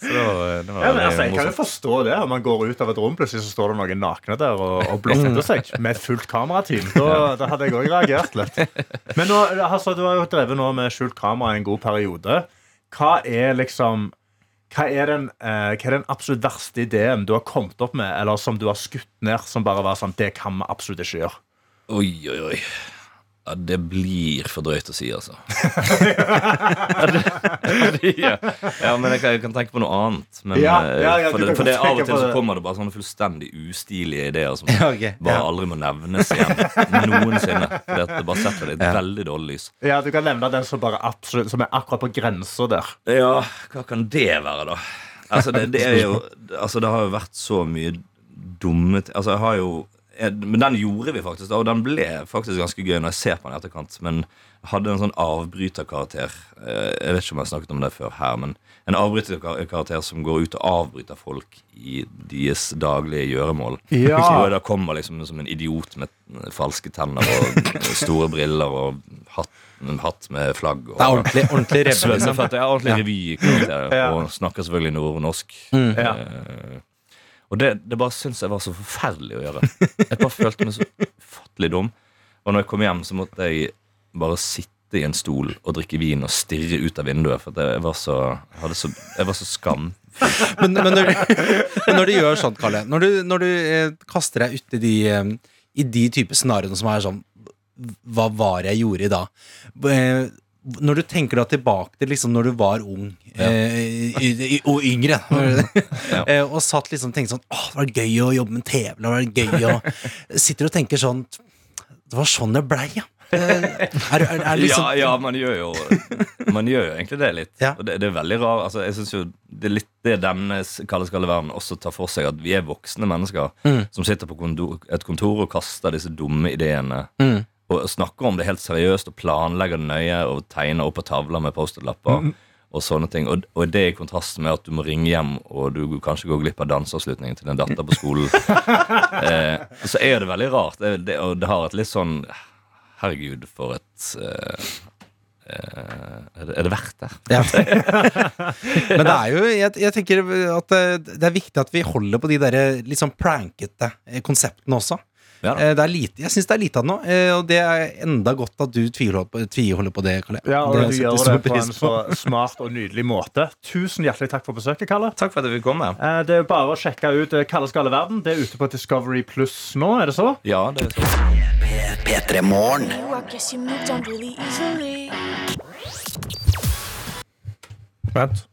Så det var, det var Ja, men, veldig altså, jeg kan jo morsomt. forstå det. Om man går ut av et rom, plutselig så står det noen nakne der og, og blotter seg med et fullt kamerateam. Da, da hadde jeg òg reagert litt. Men nå, altså, du har jo drevet nå med skjult kamera i en god periode. Hva er liksom hva er, den, eh, hva er den absolutt verste ideen du har kommet opp med, eller som du har skutt ned, som bare var sånn Det kan vi absolutt ikke gjøre. Oi, oi, oi. Ja, det blir for drøyt å si, altså. ja, men jeg kan, jeg kan tenke på noe annet. Men, Ja, eh, ja, ja, for, du det, kan for det, godt Av og tenke til på så det. kommer det bare sånne fullstendig ustilige ideer som Ja, ok, bare ja. aldri må nevnes igjen noensinne. For det bare setter det i et veldig dårlig lys. Ja, Du kan nevne den som, bare absolutt, som er akkurat på grensa der. Ja, hva kan det være, da? Altså, det, det er jo Altså, det har jo vært så mye dumme t- Altså, jeg har jo jeg, Men den gjorde vi faktisk, da, og den ble faktisk ganske gøy når jeg ser på den i etterkant. Men jeg hadde en sånn avbryterkarakter eh, Jeg vet ikke om jeg har snakket om det før her, men en avbryterkarakter som går ut og avbryter folk i deres daglige gjøremål. Ja. Så da kommer liksom som en idiot med falske tenner og store briller og hatt, en hatt med flagg. Og, Det er ordentlig- ordentlig revy, liksom. Svømmeføtter, ja, ordentlig Ja. revykarakter. Ja. Og snakker selvfølgelig nordnorsk. Mm. Eh, Ja. og det, det bare syns jeg var så forferdelig å gjøre. Jeg bare følte meg så ufattelig dum. Og når jeg kom hjem, så måtte jeg bare sitte i en stol og drikke vin og stirre ut av vinduet. For at jeg var så, jeg hadde så, jeg var så skam. Men, men, når, men når du gjør sånn, Kalle Når du, når du eh, kaster deg uti de, eh, i de type scenarioene som er sånn Hva var jeg gjorde i dag? Eh, Når du tenker deg tilbake til liksom når du var ung eh, i, i, og yngre Mm. eh, og satt liksom og tenkte sånn Åh, det var gøy å jobbe med TV. Det var gøy å Sitter og tenker sånn Det var sånn det blei, ja. Eh, Er, er, er liksom, ja, ja, man gjør jo Man gjør jo egentlig det litt. Og det, det er veldig rar altså, Jeg synes jo Det er litt det denne s- kalde skalde verden også tar for seg, at vi er voksne mennesker Mm. som sitter på kondo- et kontor og kaster disse dumme ideene. Mm. Og snakker om det helt seriøst og planlegger det nøye og tegner opp på tavler med Post-It-lapper. Mm. Og sånne ting Og, og det i kontrast med at du må ringe hjem og du kanskje går glipp av danseavslutningen til en datter på skolen. eh, så er det veldig rart. Det, det, og det har et litt sånn Herregud, for et eh, eh, er, det, er det verdt det? Ja. Men det er jo jeg, jeg tenker at eh, det er viktig at vi holder på de der eh, litt sånn prankete eh, konseptene også. Eh, det er lite, jeg syns det er lite av det nå, eh, og det er enda godt at du tviholder på, tviholder på det, Kalle. Ja, og Det du setter gjør jeg stor det på pris en sånn- så smart og nydelig måte. Tusen hjertelig takk for besøket, Kalle. Takk for at vi kom med. Eh, Det er bare å sjekke ut eh, Kalles gale verden. Det er ute på Discovery Pluss nå, er det så? Ja, det er P3 Morgen. Vent.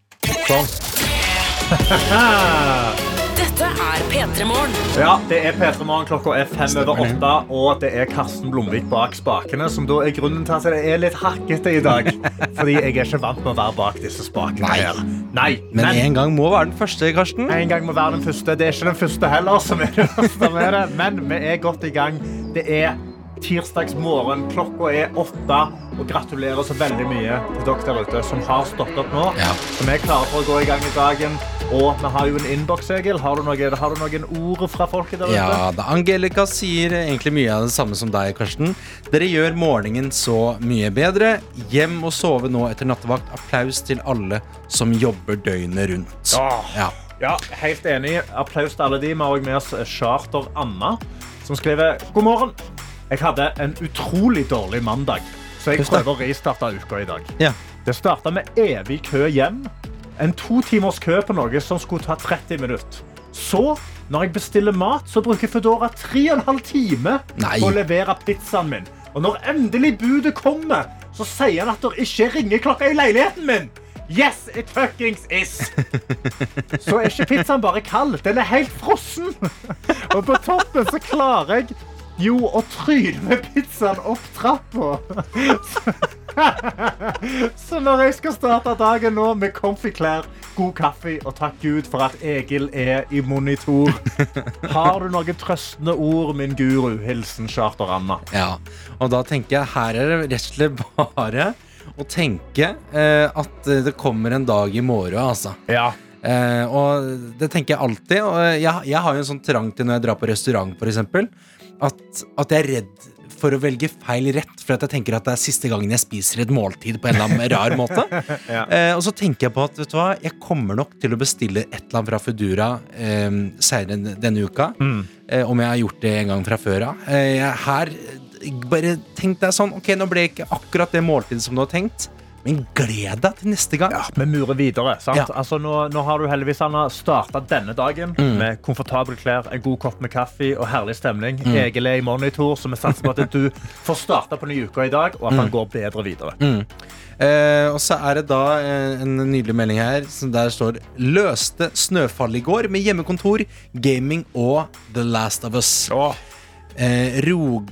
Dette er P3 Morgen. Ja, det er P3 Morgen. Klokka er fem over åtte. Og det er Karsten Blomvik bak spakene, som da er grunnen til at det er litt hakkete i dag. Fordi jeg er ikke vant med å være bak disse spakene Nei. her. Nei. Men en gang må være den første, Karsten. En gang må være den første. Det er ikke den første heller, som er det verste med det. Men vi er godt i gang. Det er tirsdags morgen. Klokka er åtte. Og gratulerer så veldig mye til dere der ute som har stått opp nå. Som er klare for å gå i gang i dagen. Og vi har jo en innboks, Egil. Har du, noen, har du noen ord fra folket der ute? Ja, da Angelica sier egentlig mye av det samme som deg, Karsten. Dere gjør morgenen så mye bedre. Hjem og sove nå etter nattevakt. Applaus til alle som jobber døgnet rundt. Åh. Ja. Ja, helt enig. Applaus til alle de. Vi har også med oss Charter Anna, som skriver God morgen. Jeg hadde en utrolig dårlig mandag, så jeg Huff da. prøver å restarte uka i dag. Ja. Det starta med evig kø hjem. En to timers kø på noe som skulle ta 30 minutter. Så, når jeg bestiller mat, så bruker Foodora 3,5 timer Nei. på å levere pizzaen min. Og når endelig budet kommer, så sier han at det ikke er ringeklokka i leiligheten min. Yes, it fuckings is! Så er ikke pizzaen bare kald, den er helt frossen. Og på toppen så klarer jeg jo å tryne pizzaen opp trappa. Så når jeg skal starte dagen nå med comfy klær, god kaffe og takk Gud for at Egil er i monitor, har du noen trøstende ord, min guru? Hilsen Charter-Anna. Ja, og da tenker jeg her er det rett og slett bare å tenke eh, at det kommer en dag i morgen, altså. Eh, og det tenker jeg alltid. Og jeg, jeg har jo en sånn trang til når jeg drar på restaurant, for eksempel, at, at jeg er redd for å velge feil rett, for at jeg tenker at det er siste gangen jeg spiser et måltid på en eller annen rar måte. Ja. Eh, og så tenker jeg på at vet du hva, jeg kommer nok til å bestille et eller annet fra Foodora eh, senere denne uka. Eh, om jeg har gjort det en gang fra før av. Eh, jeg- her eh, bare tenk deg sånn Ok, nå ble ikke akkurat det måltidet som du har tenkt. Men gled deg til neste gang. Ja, Vi murer videre. sant? Ja. Altså, nå, nå har du heldigvis Anna, starta denne dagen Mm. med komfortable klær, en god kopp med kaffe og herlig stemning. Mm. Egil er i monitor, så vi satser på at du får starta på nye uker i dag, og at Mm. han går bedre videre. Mm. Eh, og så er det da eh, en nydelig melding her som der står 'Løste snøfallet i går med hjemmekontor, gaming og The Last of Us'. Eh, rog,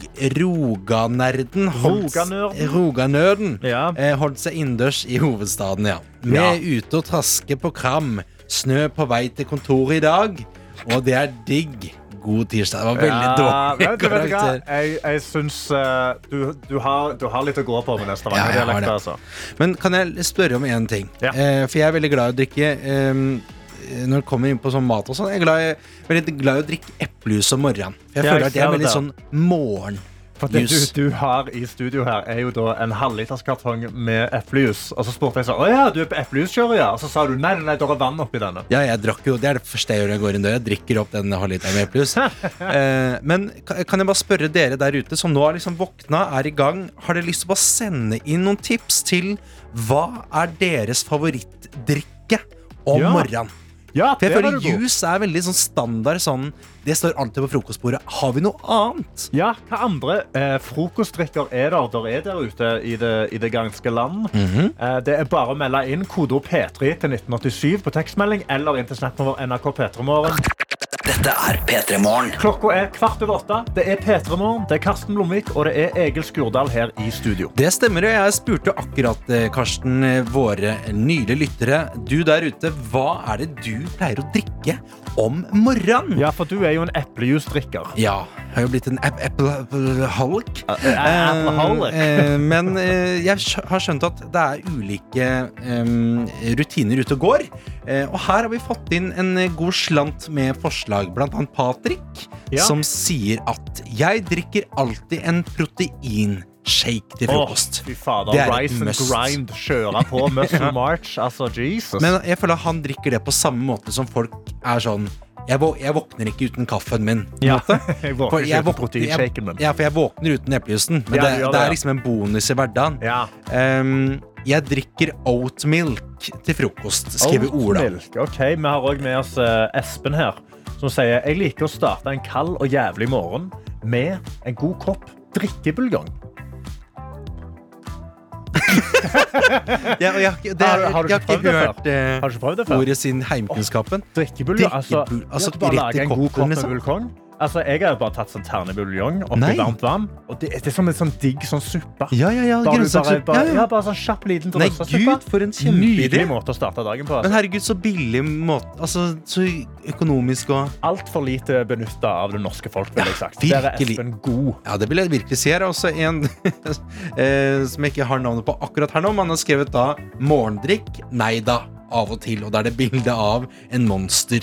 Roganerden holdt- Roganørden. Roganørden Ja. eh, holdt seg innendørs i hovedstaden, ja. Vi Ja. er ute og trasker på kram. Snø på vei til kontoret i dag, og det er digg. God tirsdag. Det var Ja, veldig dårlig vet du- vet du hva? karakter. Jeg, jeg syns eh, du, du, har, du har litt å gå på med neste Ja, gang. jeg har dialekt, det. altså. Men kan jeg spørre om én ting? Eh, for jeg er veldig glad i å drikke eh, Når det kommer inn på sånn mat og sånn. Jeg er glad i, veldig glad i å drikke eplejus om morgenen. For jeg Ja, føler jeg at jeg ser er veldig det. sånn morgen... For det Jus. du, du har i studio her, er jo da en halvliterskartong med eplejus. Og så spurte jeg sånn Å ja, du er på eplejuskjøret, ja? Og så sa du nei, nei, nei, det er vann oppi denne. Ja, jeg drakk jo, Det er det første jeg gjør når jeg går inn døra. Jeg drikker opp den halvliteren med eplejus. Eh, men ka- kan jeg bare spørre dere der ute som nå har liksom våkna, er i gang, har dere lyst til å bare sende inn noen tips til hva er deres favorittdrikke om Ja. morgenen? Ja, For jeg der var føler du god. juice er veldig sånn standard sånn Det står alltid på frokostbordet. Har vi noe annet? Ja, hva andre eh, frokostdrikker er der, der er der ute i det, i det ganske land? eh, det er bare å melde inn kodeord P3 til 1987 på tekstmelding eller inn til Snapmover NRK P3morgen. Dette er P3 Morgen. Klokka er kvart over åtte. Det er P3morgen, det er Karsten Blomvik og det er Egil Skurdal her i studio. Det stemmer, og jeg spurte akkurat, eh, Karsten, eh, våre nylige lyttere. Du der ute, hva er det du pleier å drikke om morgenen? Ja, for du er jo en eplejusdrikker. Ja, jeg har jo blitt en app- appleholk. appleholk. Eh, eh, Men eh, jeg skj- har skjønt at det er ulike eh, rutiner ute og går. Eh, Og her har vi fått inn en eh, god slant med forslag, blant annet Patrick, Ja. som sier at jeg drikker alltid en proteinshake til frokost. Å, fy fader. Det er et Rise and must. grind, kjøre på, muscle march. Altså, Jesus. Men jeg føler at han drikker det på samme måte som folk er sånn Jeg, vå jeg våkner ikke uten kaffen min. ja. jeg For våkner jeg ikke uten våkner- proteinshaken min. jeg- Ja, for jeg våkner uten eplejusen. Men Ja, det, du gjør det det, ja. er liksom en bonus i hverdagen. Ja. Ehm, jeg drikker oatmilk til frokost, skriver Ola. Oatmilk. Ok, Vi har òg med oss eh, Espen her, som sier jeg liker å starte en kald og jævlig morgen med en god kopp drikkebulgong. Ja, og jeg, har ikke- det, Har- har du ikke jeg har ikke prøvd det hørt eh, Har du ikke prøvd det før? ordet siden heimkunnskapen. Drikkebulgong? Altså, Drikkebul- altså, det er bare å rett i lage en god koppen, kopp med liksom. bulgong. Altså, jeg har jo bare tatt sånn ternebuljong Nei. oppi varmt vann. Og det, det er som en sånn digg sånn suppe. Ja, ja, ja. Da har du bare, Grønnsakssuppe. bare, Ja, ja, ja. bare sånn kjapp liten Nei, drøssesuppe. gud, for en Nydelig kjempeidé. måte å starte dagen på. Men Altså. herregud, så billig måte. Altså, så økonomisk og Altfor lite benytta av det norske folk, ville jeg sagt. Der er virkelig. Espen god. Ja, det vil jeg virkelig si. Her er også en eh, som jeg ikke har navnet på akkurat her nå, men han har skrevet da 'morgendrikk'. Nei da, av og til. Og da er det bilde av en monster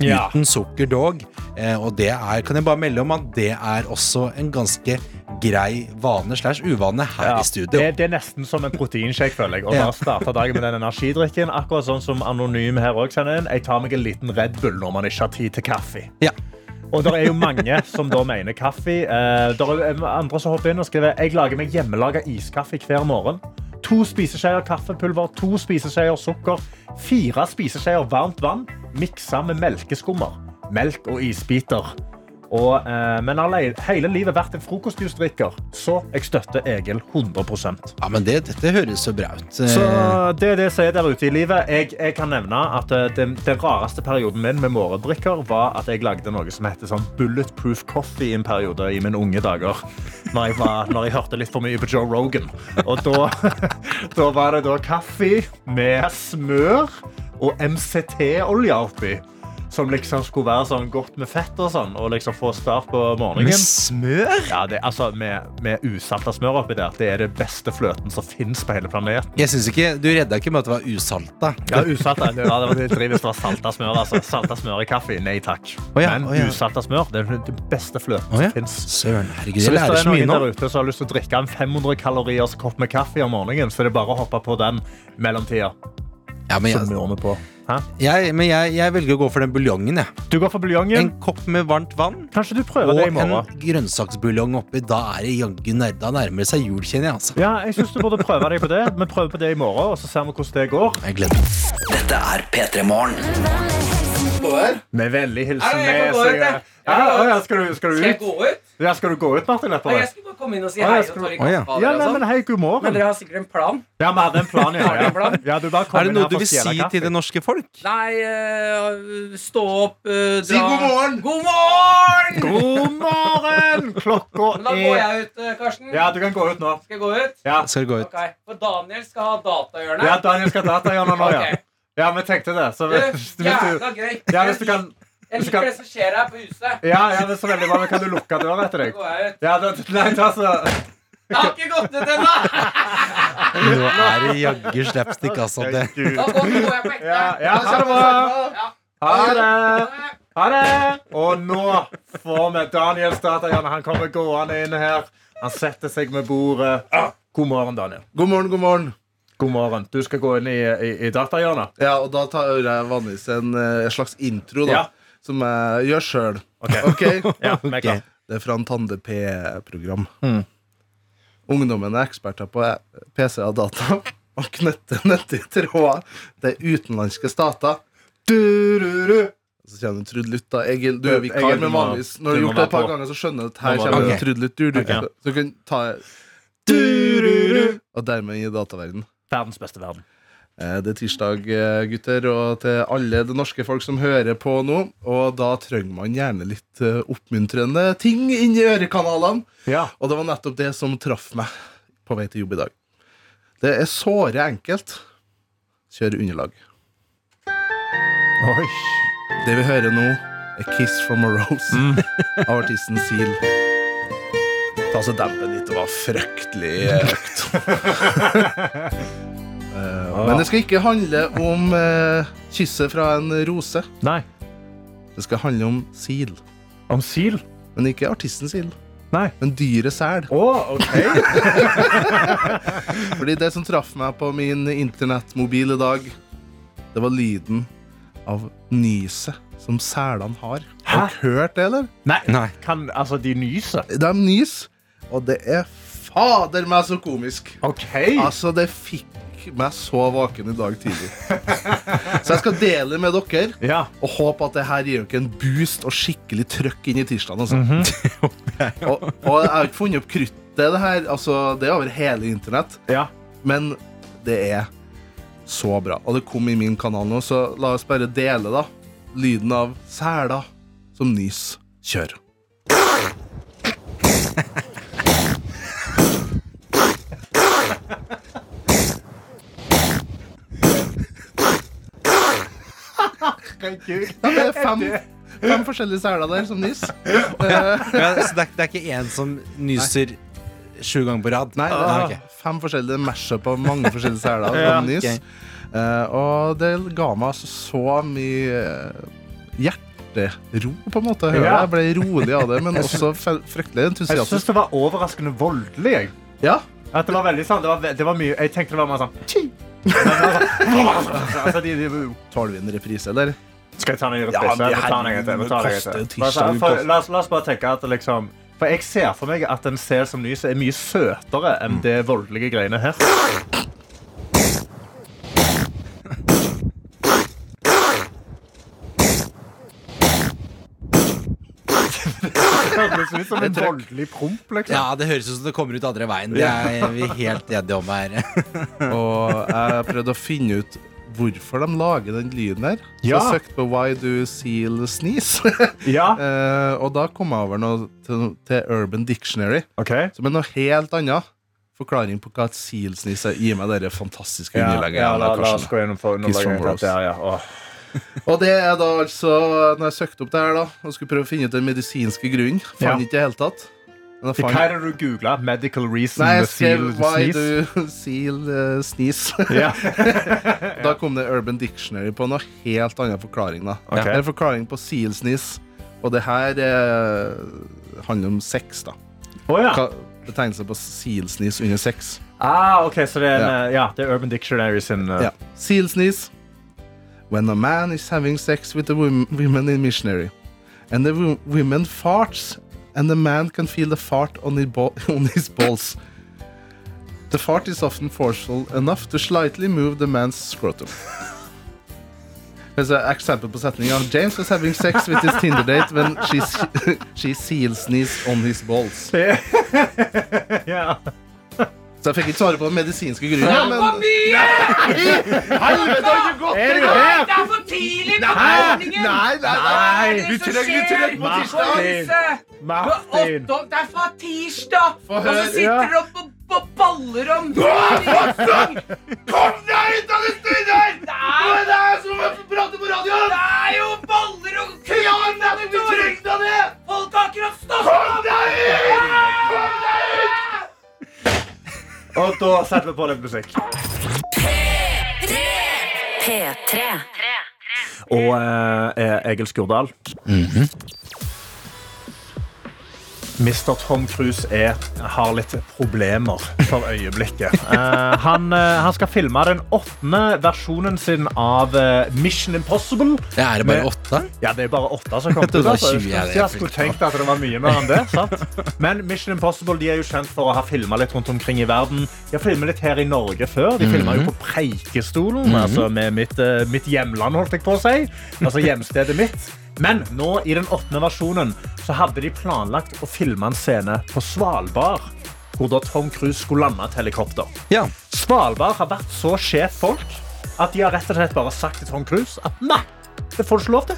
Ja. uten sukker dog. Eh, og det er, kan jeg bare melde om at det er også en ganske grei vane slash uvane her Ja, i studio. det, det er nesten som en proteinshake, føler jeg. Å Ja. bare starte dagen med den energidrikken. Akkurat sånn som anonym her også sender inn. Jeg tar meg en liten Red Bull når man ikke har tid til kaffe. Ja. Og det er jo mange som da mener kaffe. Eh, det er jo andre som hopper inn og skriver Jeg lager meg hjemmelaga iskaffe hver morgen. To spiseskjeer kaffepulver, to spiseskjeer sukker, fire spiseskjeer varmt vann, miksa med melkeskummer, melk og isbiter. Og, eh, men har le- hele livet vært en frokostjusdrikker, så jeg støtter Egil 100 Ja, men det, dette høres så bra ut. Eh, så det er det jeg sier der ute i livet. Jeg, jeg kan nevne at eh, den, den rareste perioden min med morgendrikker var at jeg lagde noe som heter sånn bulletproof coffee i en periode i mine unge dager. Når jeg, var, når jeg hørte litt for mye på Joe Rogan. Og da, da var det da kaffe med smør og MCT-olje oppi. Som liksom skulle være sånn godt med fett og sånn, og liksom få start på med morgenen. smør? Ja, det, altså, med, med usalta smør oppi der. Det er det beste fløten som fins på hele planeten. Jeg synes ikke, Du redda ikke med at det var usalta. Ja, usalta. Det var, det var dritt hvis det var salta smør. Altså. Salta smør i kaffe, nei takk. Å ja, Men å ja. usalta smør det er den beste fløten Å ja. som fins. Søren, herregud, Så hvis det jeg lærer er så mye noen nå. der ute som har lyst til å drikke en 500 kaloriers kopp med kaffe om morgenen, så er det bare å hoppe på den mellomtida. Ja, men jeg- som gjør meg på. Hæ? Jeg, men jeg, jeg velger å gå for den buljongen. Jeg. Du går for buljongen. En kopp med varmt vann Kanskje du prøver og det i en morgen. grønnsaksbuljong oppi. Da er det jaggu nær- Da nærmer det seg jul, kjenner jeg. altså Ja, jeg synes du burde prøve deg på det. Vi prøver på det i morgen, og så ser vi hvordan det går. Jeg gleder meg. Dette er P3 Morgen. Med vennlig hilsen Nei, jeg kan gå ut, jeg. med ja, ja, ja, skal, du, skal Skal jeg du ut? gå ut? Ja, skal du gå ut, Martin Nei, jeg Lepperød? skulle bare komme inn og si Å, hei jeg og skulle- tørre Å, ja. kaffehaler Ja, og nei, sånn. men hei, god morgen. Men dere har sikkert en plan? Ja, vi hadde en plan, ja. Har dere en ja. plan? ja du bare kom Er det inn noe her du for å vil si stjele kaffe. til det norske folk? Nei, eh, stå opp, eh, dra Si god morgen! God morgen! God morgen! Men da Klokka går er jeg ut, eh, Karsten. Ja, du kan gå ut nå. Skal jeg gå ut? Ja, Skal det gå ut? Ok, For Daniel skal ha datahjørnet. ja Daniel skal ta deg gjennom nå, ja. Ok. Ja, vi tenkte det. Så Du, hvis, hvis du, jævla gøy. ja, hvis du kan Jeg hvis du liker kan- det som skjer her på huset. Ja, ja, det er så veldig bra. Men kan du lukke døra etter Da deg? går jeg ut. Ja, da, nei, ta så Jeg har ikke gått ut ennå! Nå er det jaggu slapstick, altså. Det. Da går vi- går jeg på ekte. Ja, ja, ha det bra. Ha det. Ha det! Og nå får vi Daniel Statajan. Han kommer gående inn her. Han setter seg med bordet. God morgen, Daniel. God morgen, god morgen. God morgen. Du skal gå inn i, i, i datahjørnet. Ja, og da tar jeg vanligvis en eh, slags intro, da. Ja. Som jeg gjør sjøl. Ok. Ja, vi er klar. Mm. Det er fra en Tande-P-program. Ungdommen er eksperter på eh, PC og data og knytter nettige tråder til utenlandske stater. Du-ru-ru. Så kommer det Trud Lutt, da. Egil, du er Egil, vikar, du men må- vanligvis når du du må har gjort det være et par på. ganger, så skjønner du at Nå her må kommer du- det Trud Lutt. Du, du, Ok. Så du kan ta Du-ru-ru. Og dermed i dataverdenen. Verdens beste verden. Eh, Det er tirsdag, eh, gutter, og til alle det norske folk som hører på nå. Og da trenger man gjerne litt eh, oppmuntrende ting inn i ørekanalene. Ja. Og det var nettopp det som traff meg på vei til jobb i dag. Det er såre enkelt. Kjør underlag. Oi. Det vi hører nå, er 'Kiss from a Rose' av artisten Seal. Ta så dempen litt. Det var fryktelig høyt. Eh, Men det skal ikke handle om eh, kysset fra en rose. Nei. Det skal handle om sil. Om sil? Men ikke artisten sil. Nei. Men dyret sel. Å, OK. Fordi det som traff meg på min internettmobil i dag, det var lyden av nyset som selene har. Har dere hørt det, eller? Nei. Nei. Kan, altså, de nyser. De nys, og det er fader meg så komisk. OK. Altså, det fikk meg så vaken i dag tidlig. Så jeg skal dele med dere, Ja. og håpe at det her gir dere en boost og skikkelig trøkk inn i tirsdagen. Altså. og, og jeg har ikke funnet opp kruttet, det her. Altså, det er over hele internett. ja. Men det er så bra. Og det kom i min kanal nå, så la oss bare dele, da. Lyden av sela som nys. Kjør. Ja, det er fem, fem forskjellige seler der som nys. Eh, Ja, så det er, det er ikke én som nyser sju ganger på rad? Nei, det Ah, er ok. fem forskjellige mashup av mange forskjellige seler. Ja, som nys. ok. Eh, og det ga meg altså så mye eh, hjertero, på en måte. å høre Ja. det. Jeg ble rolig av det, men også fe- fryktelig Jeg syns entusiastisk. det var overraskende voldelig. jeg. Ja, At det var veldig sånn, det var, ve- det var mye, Jeg tenkte det var mer sånn «Tji!» Men det var sånn, altså, de, de, Tar du en reprise, eller? Skal jeg ta den i Ja, reprise? men Vi tar den en gang til, vi tar den en gang herregud, det til. koster jo Altså, tirsdag, det for- koster- La oss la oss bare tenke at liksom For jeg ser for meg at en sel som nyser, er mye søtere Mm. enn det voldelige greiene her. Det høres ut som en voldelig promp, liksom. Ja, det høres ut som det kommer ut andre veien. Det er vi helt enige om her. Og jeg prøvde å finne ut hvorfor de lager den lyden der. Så Ja. jeg søkte på Why do seal sneeze? Ja, Eh, og da kom jeg over noe til, til Urban Dictionary, ok. som er noe helt annet. Forklaring på hva et seal sneeze er. Gi meg dere fantastiske Ja, underlegget. ja, la, la der, Karsten. oss gå gjennom for Kiss from underlaget. Rose. Ja, ja. Åh. Og det er da altså Når jeg søkte opp det her da og skulle prøve å finne ut den medisinske grunnen, fant Ja. ikke i hele tatt. Men jeg Hva fant er det du googla? Medical reason Nei, jeg med skrev seal Why sneeze? do seal eh, sneeze? Ja. da kom det Urban Dictionary på noe helt annen forklaring. da Ok. Det er en forklaring på seal sneeze, og det her eh, handler om sex, da. Å ja. Hva, Betegnelse på silsnis under sex. Ah, ok, så det er, en, eh, ja, det er Urban Dictionary sin eh, Ja. Sealsneeze. When a man is having sex with a wom- woman in missionary, and the wo- woman farts, and the man can feel the fart on his, bo- on his balls. The fart is often forceful enough to slightly move the man's scrotum. There's an example på setninga. James was having sex with his Tinder date when she, s- she seal sneezed on his balls. Så jeg fikk ikke svare på den medisinske Ja, grunnen. for mye! Helvete, har du gått Er til du det? her? Det er for tidlig på Nei, morgenen! nei, nei, Hva er nei. det Du som tillegg- du skjer? tillegg på Hva tirsdag. er disse? Du er Martin. åtte år- Det er fra tirsdag! Få Og så høre. sitter du oppe og- og baller om Kom deg ut av det stedet her! Det er som å prate på radioen! Det er jo baller og kuler! Du trengte det! Folk har akkurat stått opp! Kom deg ut! Og da setter vi på litt musikk. P3. Og eh, Egil Skurdal. Mhm. Mr. Tom Cruise er, har litt problemer for øyeblikket. Eh, han, eh, han skal filme den åttende versjonen sin av eh, Mission Impossible. Ja, er det bare Med- åtte? Ja, det er bare åtte som kommer Jeg ut. trodde det var Altså. 20 Jeg, jeg jeg skulle fulgte. tenkt at det var mye mer enn det. Sant? Men Mission Impossible de er jo kjent for å ha filma litt rundt omkring i verden. De har filmet litt her i Norge før. De filma Mhm. jo på Preikestolen, Mhm. altså med mitt, eh, mitt hjemland, holdt jeg på å si. Altså hjemstedet mitt. Men nå, i den åttende versjonen, så hadde de planlagt å filme en scene på Svalbard. Hvor da Tom Cruise skulle lande et helikopter. Svalbard har vært så sjeffolk at de har rett og slett bare sagt til Tom Cruise at nei, det får du ikke lov til.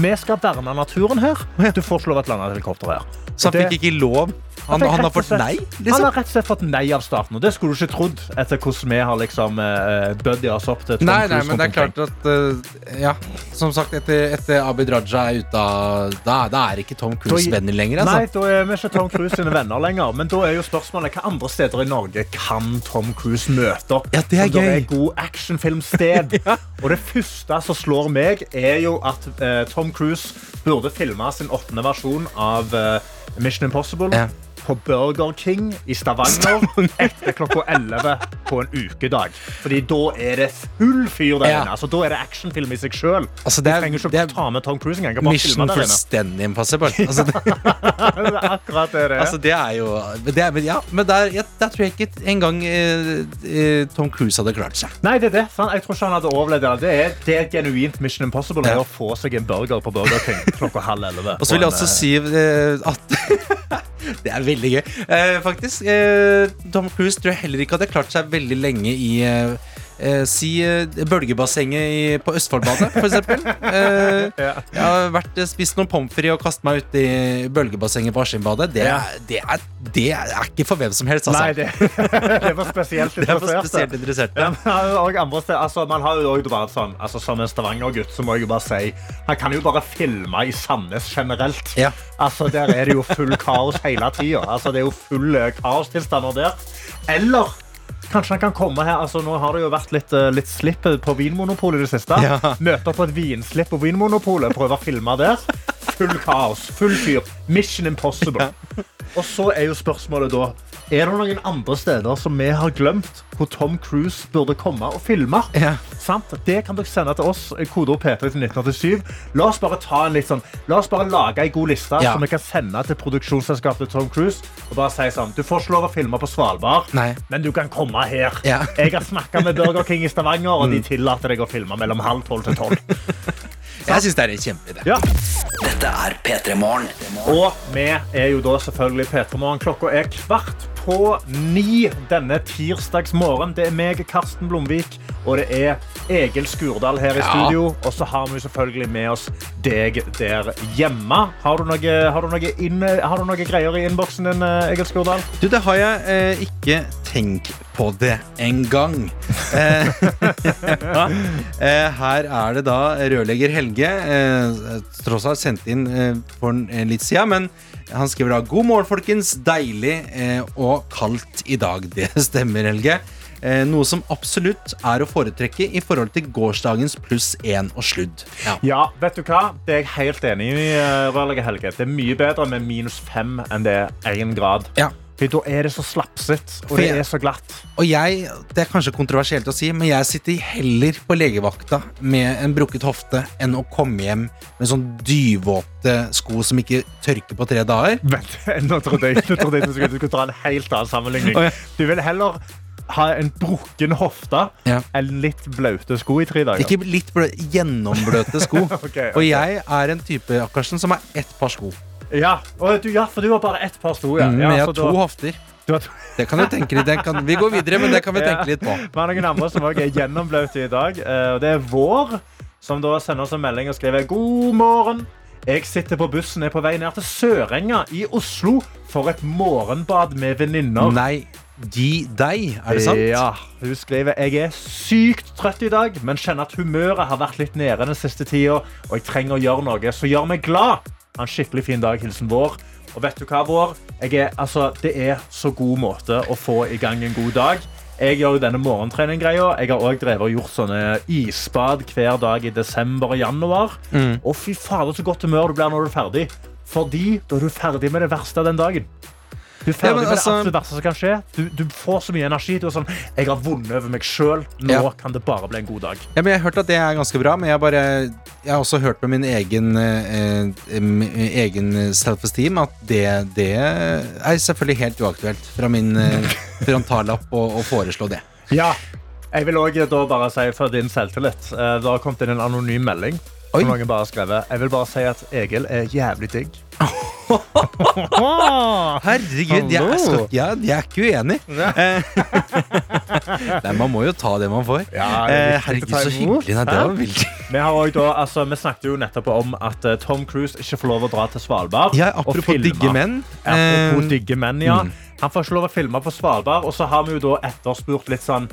Vi skal verne naturen her. Du får ikke lov til å lande et helikopter her. Så Og han det- fikk ikke lov? Han, fikk han har rett og fått slett- nei? Han Liksom? har rett og slett fått nei av staten. Og det skulle du ikke trodd etter hvordan vi har liksom, eh, buddy oss opp til Tom Nei, nei, Cruise. men det er rundt omkring. klart at eh, Ja, som sagt, etter, etter Abid Raja er ute av Da, da er ikke Tom Cruise Da- venner lenger, Nei, altså. da er vi ikke Tom Cruise sine venner lenger. Men da er jo spørsmålet hva andre steder i Norge kan Tom Cruise møte opp? Ja, det er som der gøy. er god actionfilmsted. Og det første som slår meg, er jo at eh, Tom Cruise burde filme sin åttende versjon av eh, Mission Impossible. På Burger King i Stavanger etter klokka 11 på en ukedag. Fordi da er det full fyr der Ja. inne. Altså, da er det actionfilm i seg sjøl. Altså, det er- du trenger ikke det er å ta med Tom Cruise engang. Bare filme Mission der inne. fullstendig impossible. Altså, det, Det er akkurat det det er. altså, det er jo det er, men Ja, men der, ja, der tror jeg ikke engang eh, eh, Tom Cruise hadde klart seg. Nei, det er det. sant? Jeg tror ikke han hadde overlevd det. Det er, det er et genuint Mission Impossible er å få seg en burger på Burger King klokka halv elleve. Og så vil jeg også si eh, at Det er veldig gøy. Eh, faktisk, eh, Tom Cruise tror jeg heller ikke hadde klart seg veldig lenge i eh, eh, Si eh, bølgebassenget i, på Østfoldbadet, for eksempel. Eh, jeg har vært, eh, spist noen pommes frites og kastet meg ut i bølgebassenget på Askimbadet. Det, Ja. er- det, er- det er ikke for hvem som helst, altså. Nei, det, det var spesielt Det er for interessert. spesielt interesserte. Ja, men han er jo også andre steder. altså, man har jo også vært sånn, altså, som en Stavanger-gutt, så må jeg jo bare si, han kan jo bare filme i Sandnes generelt. Ja. Altså, der er det jo full kaos hele tiden. Altså, det er jo full eh, kaostilstander der. Eller, kanskje han kan komme her, altså, nå har det jo vært litt, eh, litt slipp på Vinmonopolet i det siste. Ja. Møte på et vinslipp på Vinmonopolet, prøve å filme der. Full kaos, full fyr. Mission impossible. Og så er jo spørsmålet da Er det noen andre steder som vi har glemt hvor Tom Cruise burde komme og filme? Sant? Det kan dere sende til oss. eh, Kodeord P3 til 1987. La oss bare ta en litt sånn La oss bare lage ei god liste Ja. som vi kan sende til produksjonsselskapet til Tom Cruise. Og bare si sånn Du får ikke lov å filme på Svalbard, Nei. men du kan komme her. Ja. Jeg har snakka med Burger King i Stavanger, og de tillater deg å filme mellom halv tolv til tolv. Jeg syns det er en kjempeidé. Ja. Dette er P3 Morgen. Og vi er jo da selvfølgelig P3 Morgen. Klokka er kvart på ni denne tirsdags morgen. Det er meg, Karsten Blomvik, og det er Egil Skurdal her i Ja. studio. Og så har vi jo selvfølgelig med oss deg der hjemme. Har du noe, har du noe, inn, har du noe greier i innboksen din, eh, Egil Skurdal? Du, det har jeg eh, ikke tenkt på det engang. Eh, eh, her er det da rørlegger Helge. Eh, tross alt sendte inn eh, for en, en litt siden, men han skriver da God morgen, folkens. Deilig eh, og kaldt i dag. Det stemmer, Helge. Eh, noe som absolutt er å foretrekke i forhold til gårsdagens pluss én og sludd. Ja. Ja, vet du hva? Det er jeg helt enig i, eh, Rørlegger Helge. Det er mye bedre med minus fem enn det er én grad. Ja. For da er det så slapset, og det er så glatt. Og jeg, det er kanskje kontroversielt å si, men jeg sitter heller på legevakta med en brukket hofte enn å komme hjem med sånn dyvåte sko som ikke tørker på tre dager. Vent, nå trodde jeg, nå trodde jeg du, skulle, du skulle dra en helt annen sammenligning. Å, ja. Du vil heller ha en brukken hofte enn litt blaute sko i tre dager. Ikke litt blø gjennombløte sko. Ok, Og ok. jeg er en type Karsten, som har ett par sko. Ja, og du, ja, for du har bare ett par sko. Ja. Mm, Ja, men jeg så har da- to hofter. Det kan du tenke litt det kan, Vi går videre, men det kan vi tenke litt på. Vi har noen andre som også er gjennomblaute i dag. eh, Og det er Vår, som da sender oss en melding og skriver God morgen. Jeg sitter på bussen er på vei ned til Sørenga i Oslo for et morgenbad med venninner. Nei, gi deg. Er det sant? Ja. Hun skriver jeg er sykt trøtt i dag, men kjenner at humøret har vært litt nede den siste tida, og jeg trenger å gjøre noe som gjør meg glad. Ha en skikkelig fin dag. Hilsen Vår. Og vet du hva, Vår? Jeg er, altså, det er så god måte å få i gang en god dag. Jeg gjør jo denne morgentreninggreia. Jeg har også drevet og gjort sånne isbad hver dag i desember og januar. Mm. Og fy fader, så godt humør du blir når du er ferdig. Fordi da er du ferdig med det verste den dagen. Du er ferdig Ja, med men det altså- absolutt verste som kan skje. Du, du får så mye energi. Du er sånn, jeg har vunnet over meg selv. Nå Ja. kan det bare bli en god dag. Ja, men jeg har hørt at det er ganske bra, men jeg, bare, jeg har også hørt med min egen, eh, eh, min egen self-esteem at det, det er selvfølgelig helt uaktuelt fra min eh, frontallapp å, å foreslå det. Ja. Jeg vil også da bare si for din selvtillit. eh, Det har kommet inn en anonym melding. Som noen bare har skrevet. Jeg vil bare si at Egil er jævlig digg. Herregud, jeg, er skal, jeg, jeg er ikke uenig. Eh, Nei, man må jo ta det man får. Eh, Herregud, så hyggelig. Nei, det var veldig Vi, har også da, altså, vi snakket jo nettopp om at eh, Tom Cruise ikke får lov å dra til Svalbard. Ja, apropos og filme. digge menn. Ja, Eh, apropos digge menn, ja. mm. Han får ikke lov å filme på Svalbard, og så har vi jo da etterspurt litt sånn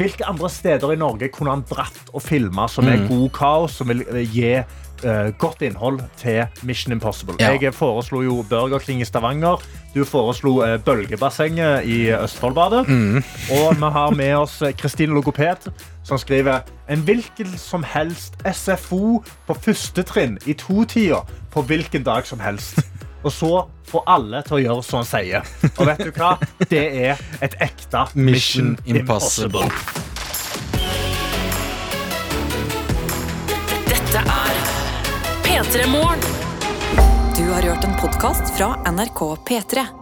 hvilke andre steder i Norge kunne han dratt og filma som er Mm. god kaos, som vil eh, gi eh, godt innhold til Mission Impossible? Ja. Jeg foreslo jo Burger King i Stavanger. Du foreslo eh, Bølgebassenget i eh, Østfoldbadet. Mm. Og vi har med oss Kristine Logoped, som skriver en hvilken som helst SFO på første trinn i to-tida på hvilken dag som helst. Og så får alle til å gjøre som han sier. Og vet du hva? Det er et ekte Mission, Mission Impossible. Impossible. Dette er P3 Morgen. Du har hørt en podkast fra NRK P3.